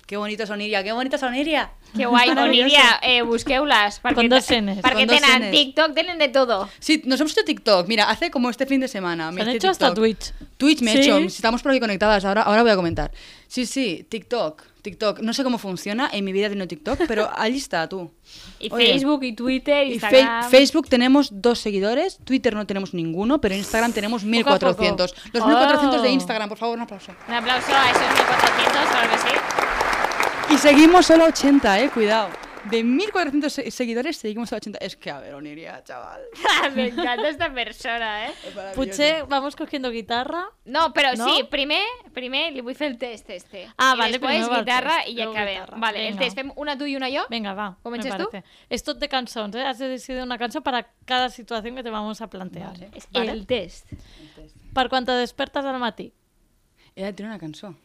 Speaker 4: Que bonito son Iria, que bonito son Iria.
Speaker 1: Que guai,
Speaker 4: Maravilloso.
Speaker 1: Oniria, eh, busqueu-les. Perquè,
Speaker 3: Con dos Ns.
Speaker 1: Perquè
Speaker 4: Con dos
Speaker 1: tenen
Speaker 4: Ns.
Speaker 1: TikTok, tenen de todo.
Speaker 4: Sí, nos hemos hecho TikTok. Mira, hace como este fin de semana.
Speaker 3: Se
Speaker 4: me
Speaker 3: han
Speaker 4: hice
Speaker 3: hecho hasta
Speaker 4: TikTok.
Speaker 3: Twitch.
Speaker 4: Twitch me he
Speaker 3: Sí.
Speaker 4: hecho. Estamos por aquí conectadas. Ahora, ahora voy a comentar. Sí, sí, TikTok. TikTok. No sé cómo funciona. En mi vida tengo TikTok, pero allí está tú.
Speaker 1: Y
Speaker 4: Oye,
Speaker 1: Facebook, y Twitter, y
Speaker 4: Y fe-
Speaker 1: Instagram...
Speaker 4: Facebook tenemos dos seguidores. Twitter no tenemos ninguno, pero en Instagram tenemos 1400. Los 1400 de
Speaker 3: Oh.
Speaker 4: Instagram, por favor, un aplauso.
Speaker 1: Un aplauso a esos 1400, claro que sí.
Speaker 4: Y seguimos solo a 80, eh. Cuidado. De 1400 se- seguidores seguimos a 80. Es que, a ver, Oniria, chaval.
Speaker 1: Me encanta esta persona, eh?
Speaker 3: Puche, vamos cogiendo guitarra.
Speaker 1: No, però
Speaker 3: No?
Speaker 1: sí, primer, primer li vull fer el test este.
Speaker 3: Ah,
Speaker 1: I
Speaker 3: vale,
Speaker 1: després
Speaker 3: primer va el
Speaker 1: guitarra
Speaker 3: test,
Speaker 1: i ja
Speaker 3: luego
Speaker 1: acabem.
Speaker 3: guitarra.
Speaker 1: Vale, el
Speaker 3: Vinga.
Speaker 1: test fem una tu i una jo.
Speaker 3: Venga, va.
Speaker 1: ¿Comienzas
Speaker 3: me
Speaker 1: tú?
Speaker 3: parece. Es tot de canciones, ¿eh? Has de decidir una canción para cada situación que te vamos a plantear.
Speaker 1: És
Speaker 3: Vale.
Speaker 1: el test.
Speaker 3: Per quan te despertes al matí.
Speaker 4: Ella tiene una canción.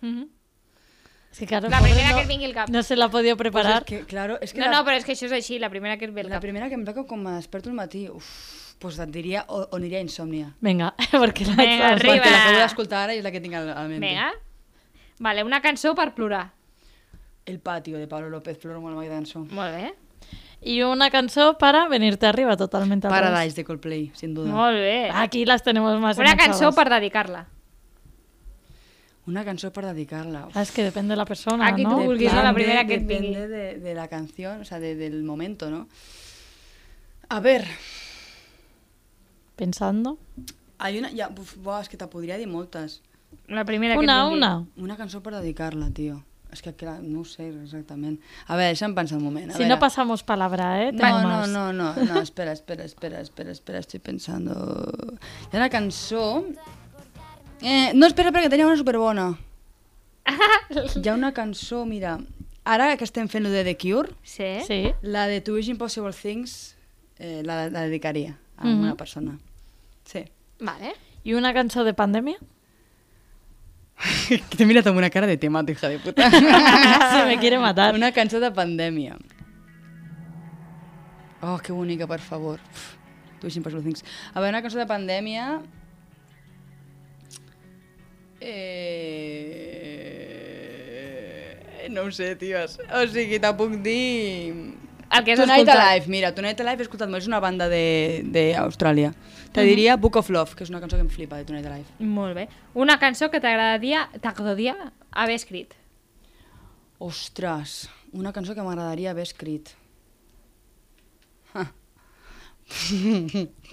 Speaker 3: Es que claro,
Speaker 1: La
Speaker 3: pobre,
Speaker 1: primera
Speaker 3: no,
Speaker 1: que et vingui al cap.
Speaker 3: No se la ha podido
Speaker 4: Pues
Speaker 3: preparar.
Speaker 4: es que, claro, es que
Speaker 1: No,
Speaker 4: la-
Speaker 1: no, però és que això és així, la primera que et ve al
Speaker 4: La
Speaker 1: cap.
Speaker 4: primera que em toca quan me desperto al matí, uf, pues et diria o, Oniria Insòmnia.
Speaker 3: Venga, porque la
Speaker 1: Venga, arriba.
Speaker 4: Perquè l'acabo d'escoltar ara i és la que tinc al, al mente.
Speaker 1: Vinga. Vale, una cançó per plorar.
Speaker 4: El patio de Pablo López, ploro molt mai cançó.
Speaker 1: Molt bé.
Speaker 3: Y una canción para venirte arriba totalmente. al revés.
Speaker 4: Paradise de Coldplay, sin duda.
Speaker 1: Molt bé.
Speaker 3: Aquí las tenemos más
Speaker 1: Una cançó
Speaker 3: enganchadas.
Speaker 1: per dedicar-la.
Speaker 4: Una cançó per dedicar-la. Uf.
Speaker 3: Ah, Es que depende de la persona,
Speaker 1: Aquí
Speaker 3: ¿no?
Speaker 1: tú. vulguis, no? La primera que et
Speaker 4: Depende de, de la canción, o sea, de, del momento, ¿no? A ver,
Speaker 3: Pensando.
Speaker 4: hay una... Ja, uf, buah, és que te podria dir moltes.
Speaker 1: La primera que
Speaker 3: Una,
Speaker 1: et vingui.
Speaker 3: una.
Speaker 4: Una cançó per dedicar-la, tio. És que clar, no ho sé exactament. A veure, deixa'm pensar un moment. A
Speaker 3: Si
Speaker 4: veure.
Speaker 3: no pasamos palabra, ¿eh? Tengo
Speaker 4: No, no,
Speaker 3: más.
Speaker 4: no, no, no, espera, espera, espera, espera, espera, estoy pensando. Hi ha una cançó... Eh, no, espera, espera, que tenia una superbona. Hi ha una cançó, mira, ara que estem fent lo de The Cure,
Speaker 1: Sí. sí.
Speaker 3: Sí.
Speaker 4: la de To Wish Impossible Things eh, la, la dedicaria a una
Speaker 3: Mhm.
Speaker 4: persona. Sí.
Speaker 1: Vale.
Speaker 3: ¿Y una canción de pandemia?
Speaker 4: que te mira amb una cara de tema, hija de puta.
Speaker 3: Ah, Se me quiere matar.
Speaker 4: Una cançó de pandèmia. Oh, que bonica, per favor. Uf, Tu així em poso things. A veure, una cançó de pandèmia... Eh... No ho sé, tios. O sigui, te puc dir...
Speaker 1: El que has
Speaker 4: Tonight
Speaker 1: escoltat.
Speaker 4: Alive, mira, Tonight Alive he escoltat molt, és una banda de- d'Austràlia.
Speaker 1: Mhm.
Speaker 4: Te diria Book of Love, que és una cançó que em flipa, de Tonight Alive.
Speaker 1: Molt bé. Una cançó que t'agradaria t'agradaria haver escrit.
Speaker 4: Ostres, una cançó que m'agradaria haver escrit.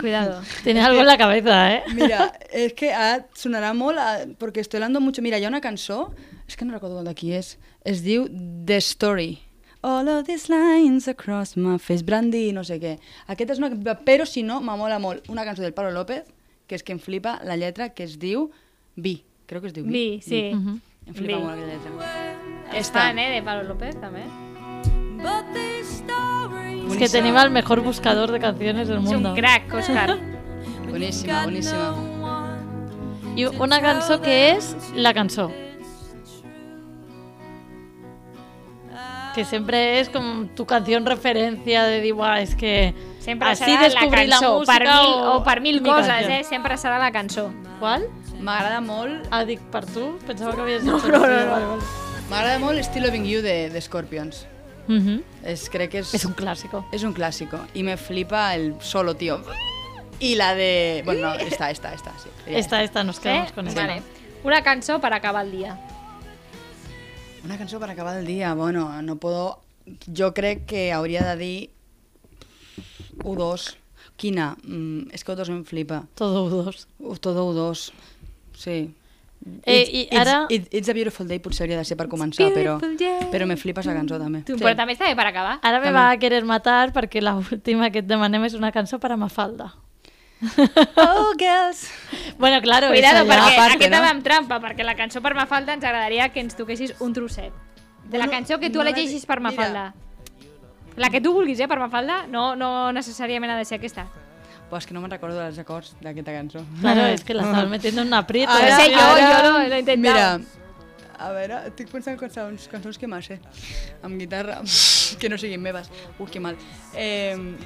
Speaker 1: Cuidado.
Speaker 3: Tiene algo en la cabeza, ¿eh?
Speaker 4: eh, Mira, es que ah, sonará mola porque estoy hablando mucho. Mira, hay una canción És que no recordo de qui és. Es diu The Story. All of these lines across my face, Brandy, no sé què. Aquesta és una... Però, si no, me mola molt una cançó del Pablo López, que és que em flipa la lletra, que es diu Vi. Crec que es diu
Speaker 3: Mm-hmm.
Speaker 4: Vi.
Speaker 1: Vi, sí.
Speaker 4: Em flipa
Speaker 1: Vi.
Speaker 4: molt aquella lletra. Està.
Speaker 1: Està, eh, de Pablo López, també.
Speaker 3: Es que tenim el mejor buscador de canciones del
Speaker 1: És
Speaker 3: mundo.
Speaker 1: un crack, Òscar.
Speaker 4: Boníssima, boníssima.
Speaker 3: Y una canción que es la canción. Que siempre es como tu canción referencia de dir, "Buah, es que
Speaker 1: Sempre
Speaker 3: así
Speaker 1: serà la
Speaker 3: descubrí la,
Speaker 1: cançó,
Speaker 3: música
Speaker 1: per mil, o, per mil
Speaker 3: mi
Speaker 1: coses,
Speaker 3: canción".
Speaker 1: eh? Sempre serà la cançó.
Speaker 3: ¿Cuál?
Speaker 4: M'agrada molt...
Speaker 3: Ah, dic, per tu? Pensaba que habías
Speaker 1: No,
Speaker 3: dicho
Speaker 1: no,
Speaker 3: que sí,
Speaker 1: no, no.
Speaker 3: vale, vale.
Speaker 4: M'agrada molt Still Loving You de, de Scorpions.
Speaker 3: Ujú.
Speaker 4: És, crec que és...
Speaker 3: Es un clásico.
Speaker 4: Es un clásico. Y me flipa el solo, tío. Y la de... Bueno, no, esta, esta, esta, sí. Sería
Speaker 3: Esta, esta, nos quedamos
Speaker 1: Eh?
Speaker 3: con ella.
Speaker 1: Vale. Una cançó per acabar el dia.
Speaker 4: esta. Una canción para acabar el día. Bueno, no puedo... Yo creo que hauria de dir... U2. Quina. Mm, és que U2 em flipa.
Speaker 3: Todo U2.
Speaker 4: U- Todo U2. Sí.
Speaker 3: Eh,
Speaker 4: It's-
Speaker 3: i
Speaker 4: it's-
Speaker 3: ara-
Speaker 4: It's, it's a Beautiful Day potser hauria de ser per començar, però, però me flipa esa cançó també.
Speaker 1: Tu, Però també està bé per acabar.
Speaker 3: Ahora me
Speaker 4: També.
Speaker 3: va a querer matar porque la última que et demanem es una canción para Mafalda.
Speaker 4: Oh, girls!
Speaker 3: Bueno, claro,
Speaker 1: Cuidado,
Speaker 3: esa ya.
Speaker 1: perquè
Speaker 4: part,
Speaker 1: aquesta
Speaker 4: no?
Speaker 1: va amb trampa, perquè la cançó per Mafalda ens agradaria que ens toquessis un trosset. De la
Speaker 4: Bueno,
Speaker 1: cançó que tu
Speaker 4: no la-
Speaker 1: elegeixis per
Speaker 4: mira.
Speaker 1: Mafalda. La que tu vulguis, eh, per Mafalda, no, no necessàriament ha de ser aquesta.
Speaker 4: Pues que no me'n recordo dels acords d'aquesta cançó.
Speaker 3: Claro, es que la estás metiendo en un aprieto.
Speaker 4: Ahora-
Speaker 1: sé, jo,
Speaker 4: ara-
Speaker 1: jo no, no he intentat.
Speaker 4: Mira, a veure, estic pensant en cançons, cançons que m'hace. Amb guitarra, que no siguin meves. Uh, que mal. Eh,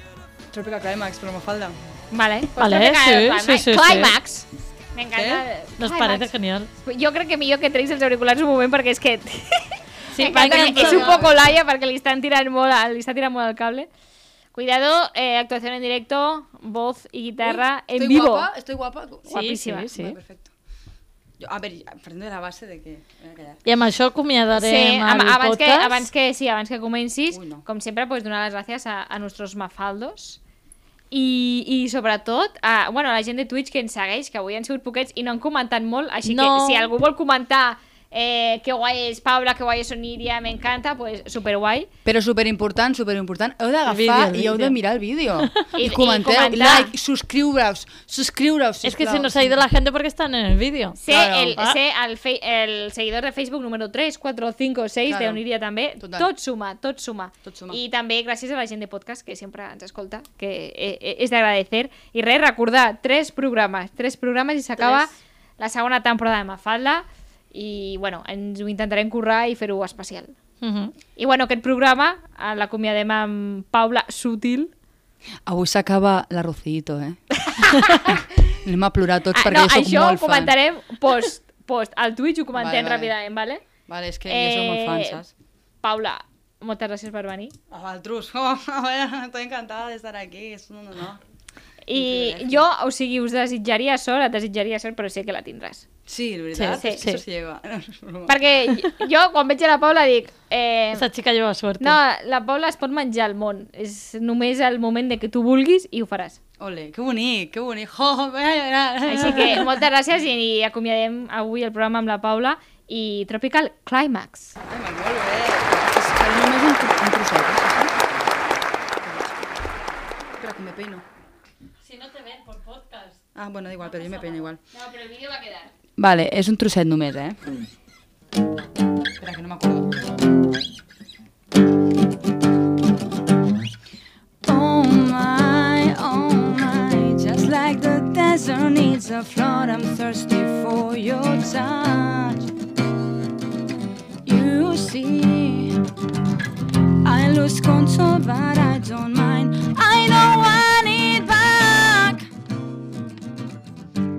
Speaker 4: Tropical Climax, però me falta.
Speaker 1: Vale, pues
Speaker 3: Vale,
Speaker 1: creo que
Speaker 3: sí,
Speaker 1: cada-
Speaker 3: sí, sí, sí.
Speaker 1: Climax. Me encanta.
Speaker 3: Nos
Speaker 1: Climax.
Speaker 3: parece genial.
Speaker 1: Yo creo que millor que treguis els auriculars un moment perquè és que...
Speaker 3: Sí,
Speaker 1: Me encanta
Speaker 3: perquè
Speaker 1: que
Speaker 3: ens
Speaker 1: és un
Speaker 3: toca-
Speaker 1: poco laia perquè li estan tirant molt, al- li està tirant molt al cable. Cuidado, eh, actuación en directo, voz y guitarra en vivo.
Speaker 4: Guapa, estoy guapa. Sí.
Speaker 1: Guapíssima.
Speaker 3: Sí, sí, sí.
Speaker 4: perfecto. Jo, a veure, partiendo de la base de que... Voy a callar.
Speaker 3: I amb això acomiadarem
Speaker 1: Sí,
Speaker 3: el
Speaker 1: ab- abans que,
Speaker 3: podcast.
Speaker 1: abans que, sí, abans que comencis,
Speaker 4: Ui, no.
Speaker 1: com sempre, pues, donar les gràcies a, a nostres mafaldos i, i sobretot a, bueno, a la gent de Twitch que ens segueix, que avui han sigut poquets i no han comentat molt, així
Speaker 3: No.
Speaker 1: que si algú vol comentar eh, que guai és Paula, que guai és Oniria, m'encanta, pues superguai.
Speaker 4: Però superimportant, superimportant, heu d'agafar
Speaker 3: El vídeo, el
Speaker 4: i heu de
Speaker 3: vídeo.
Speaker 4: mirar el vídeo.
Speaker 1: I-
Speaker 4: I,
Speaker 1: i
Speaker 4: comenteu,
Speaker 1: comentar.
Speaker 4: like, subscriure-us, subscriure-us,
Speaker 3: Es que se nos ha ido la gente porque están en el vídeo.
Speaker 1: Sé,
Speaker 4: Claro.
Speaker 1: el,
Speaker 3: Ah.
Speaker 1: sé el, fei- el seguidor de Facebook número 3, 4, 5, 6
Speaker 4: Claro.
Speaker 1: de Uniria també.
Speaker 4: Total.
Speaker 1: Tot suma, tot suma,
Speaker 4: Tot suma.
Speaker 1: I també gràcies a la gent de podcast que sempre ens escolta, que eh, eh, és d'agradecer. I res, recordar, tres programes, tres programes i s'acaba la segona temporada de Mafalda i bueno, ens ho intentarem currar i fer-ho especial.
Speaker 4: Mhm.
Speaker 3: Ujú.
Speaker 1: I bueno, aquest programa eh, l'acomiadem amb Paula Sutil.
Speaker 4: Avui s'acaba l'arrocito, eh? Anem a plorar tots
Speaker 1: Ah,
Speaker 4: perquè
Speaker 1: no,
Speaker 4: jo soc
Speaker 1: això ho
Speaker 4: molt fan.
Speaker 1: comentarem post, post al Twitch, ho comentem
Speaker 4: Vale, vale.
Speaker 1: ràpidament, vale?
Speaker 4: Vale, és que eh... jo soc molt fan, saps?
Speaker 1: Paula, moltes gràcies per venir.
Speaker 4: A Valtrus, oh, bueno, estoy encantada de estar aquí, es un honor.
Speaker 1: I jo, o sigui, us desitjaria sort, et desitjaria sort, però sé que la tindràs.
Speaker 4: Sí, la veritat,
Speaker 3: Sí,
Speaker 4: sí,
Speaker 3: sí,
Speaker 4: sí,
Speaker 3: sí.
Speaker 4: sí. lleva. No, és broma.
Speaker 1: Perquè jo, quan veig a la Paula, dic... Eh,
Speaker 3: Esta chica lleva suerte.
Speaker 1: no, la Paula es pot menjar el món. És només el moment de que tu vulguis i ho faràs.
Speaker 4: Ole, que bonic, que bonic. Oh, voy a llorar.
Speaker 1: Així que moltes gràcies i, i acomiadem avui el programa amb la Paula i Tropical Climax.
Speaker 4: Ai, molt bé. És que només un, tro- un trosset, eh? això? Espera, que me peino.
Speaker 3: Si no te ven por podcast.
Speaker 4: Ah, bueno, da igual, però jo me peino igual.
Speaker 1: No, però el vídeo va quedar.
Speaker 4: Vale, és un trosset només, eh? Espera, que no m'acordo.
Speaker 5: Oh my, oh my, just like the desert needs a flood, I'm thirsty for your touch. You see, I lose control, but I don't mind. I know I need back.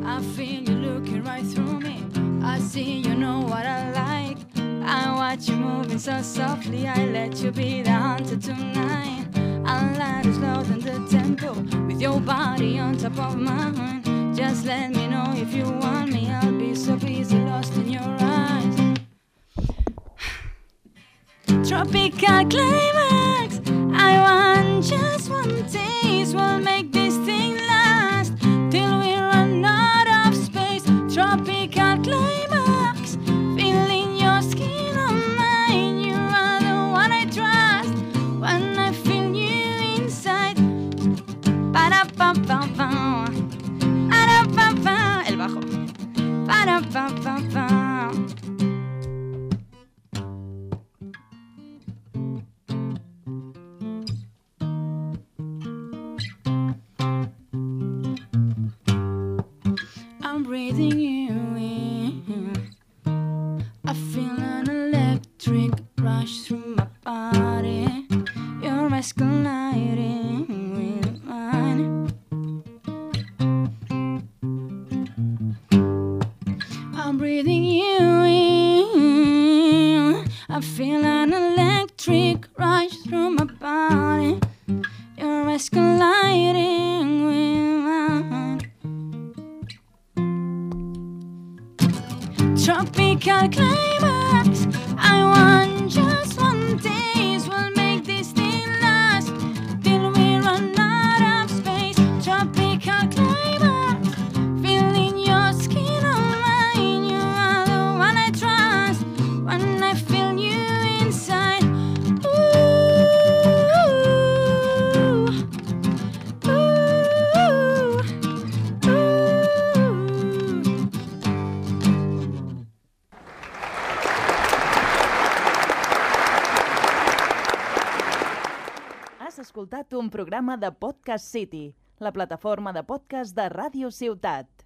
Speaker 5: I feel you looking right through me. I see you know what I like. I watch you moving so softly. I let you be the hunter tonight. I'll let it slow down the tempo with your body on top of mine. Just let me know if you want me. I'll be so busy, lost in your eyes. Tropical climax. I want just one taste. We'll make this thing last till we run out of space. Tropical climax. Feeling your skin
Speaker 6: Ba-dum-bum-bum-bum. I'm breathing you in. I feel an electric rush through my body. Your eyes colliding with mine. I'm breathing you in. I feel an electric rush through my body. Your eyes colliding with mine. Tropical climax. I want just one days. We'll make this thing last till we run out of space. Tropical climax. Feeling your skin on mine. You are the one I trust when I feel you inside. Ooh. Ooh. Ooh.
Speaker 10: Has escoltat un programa de Podcast City, la plataforma de podcast de Ràdio Ciutat.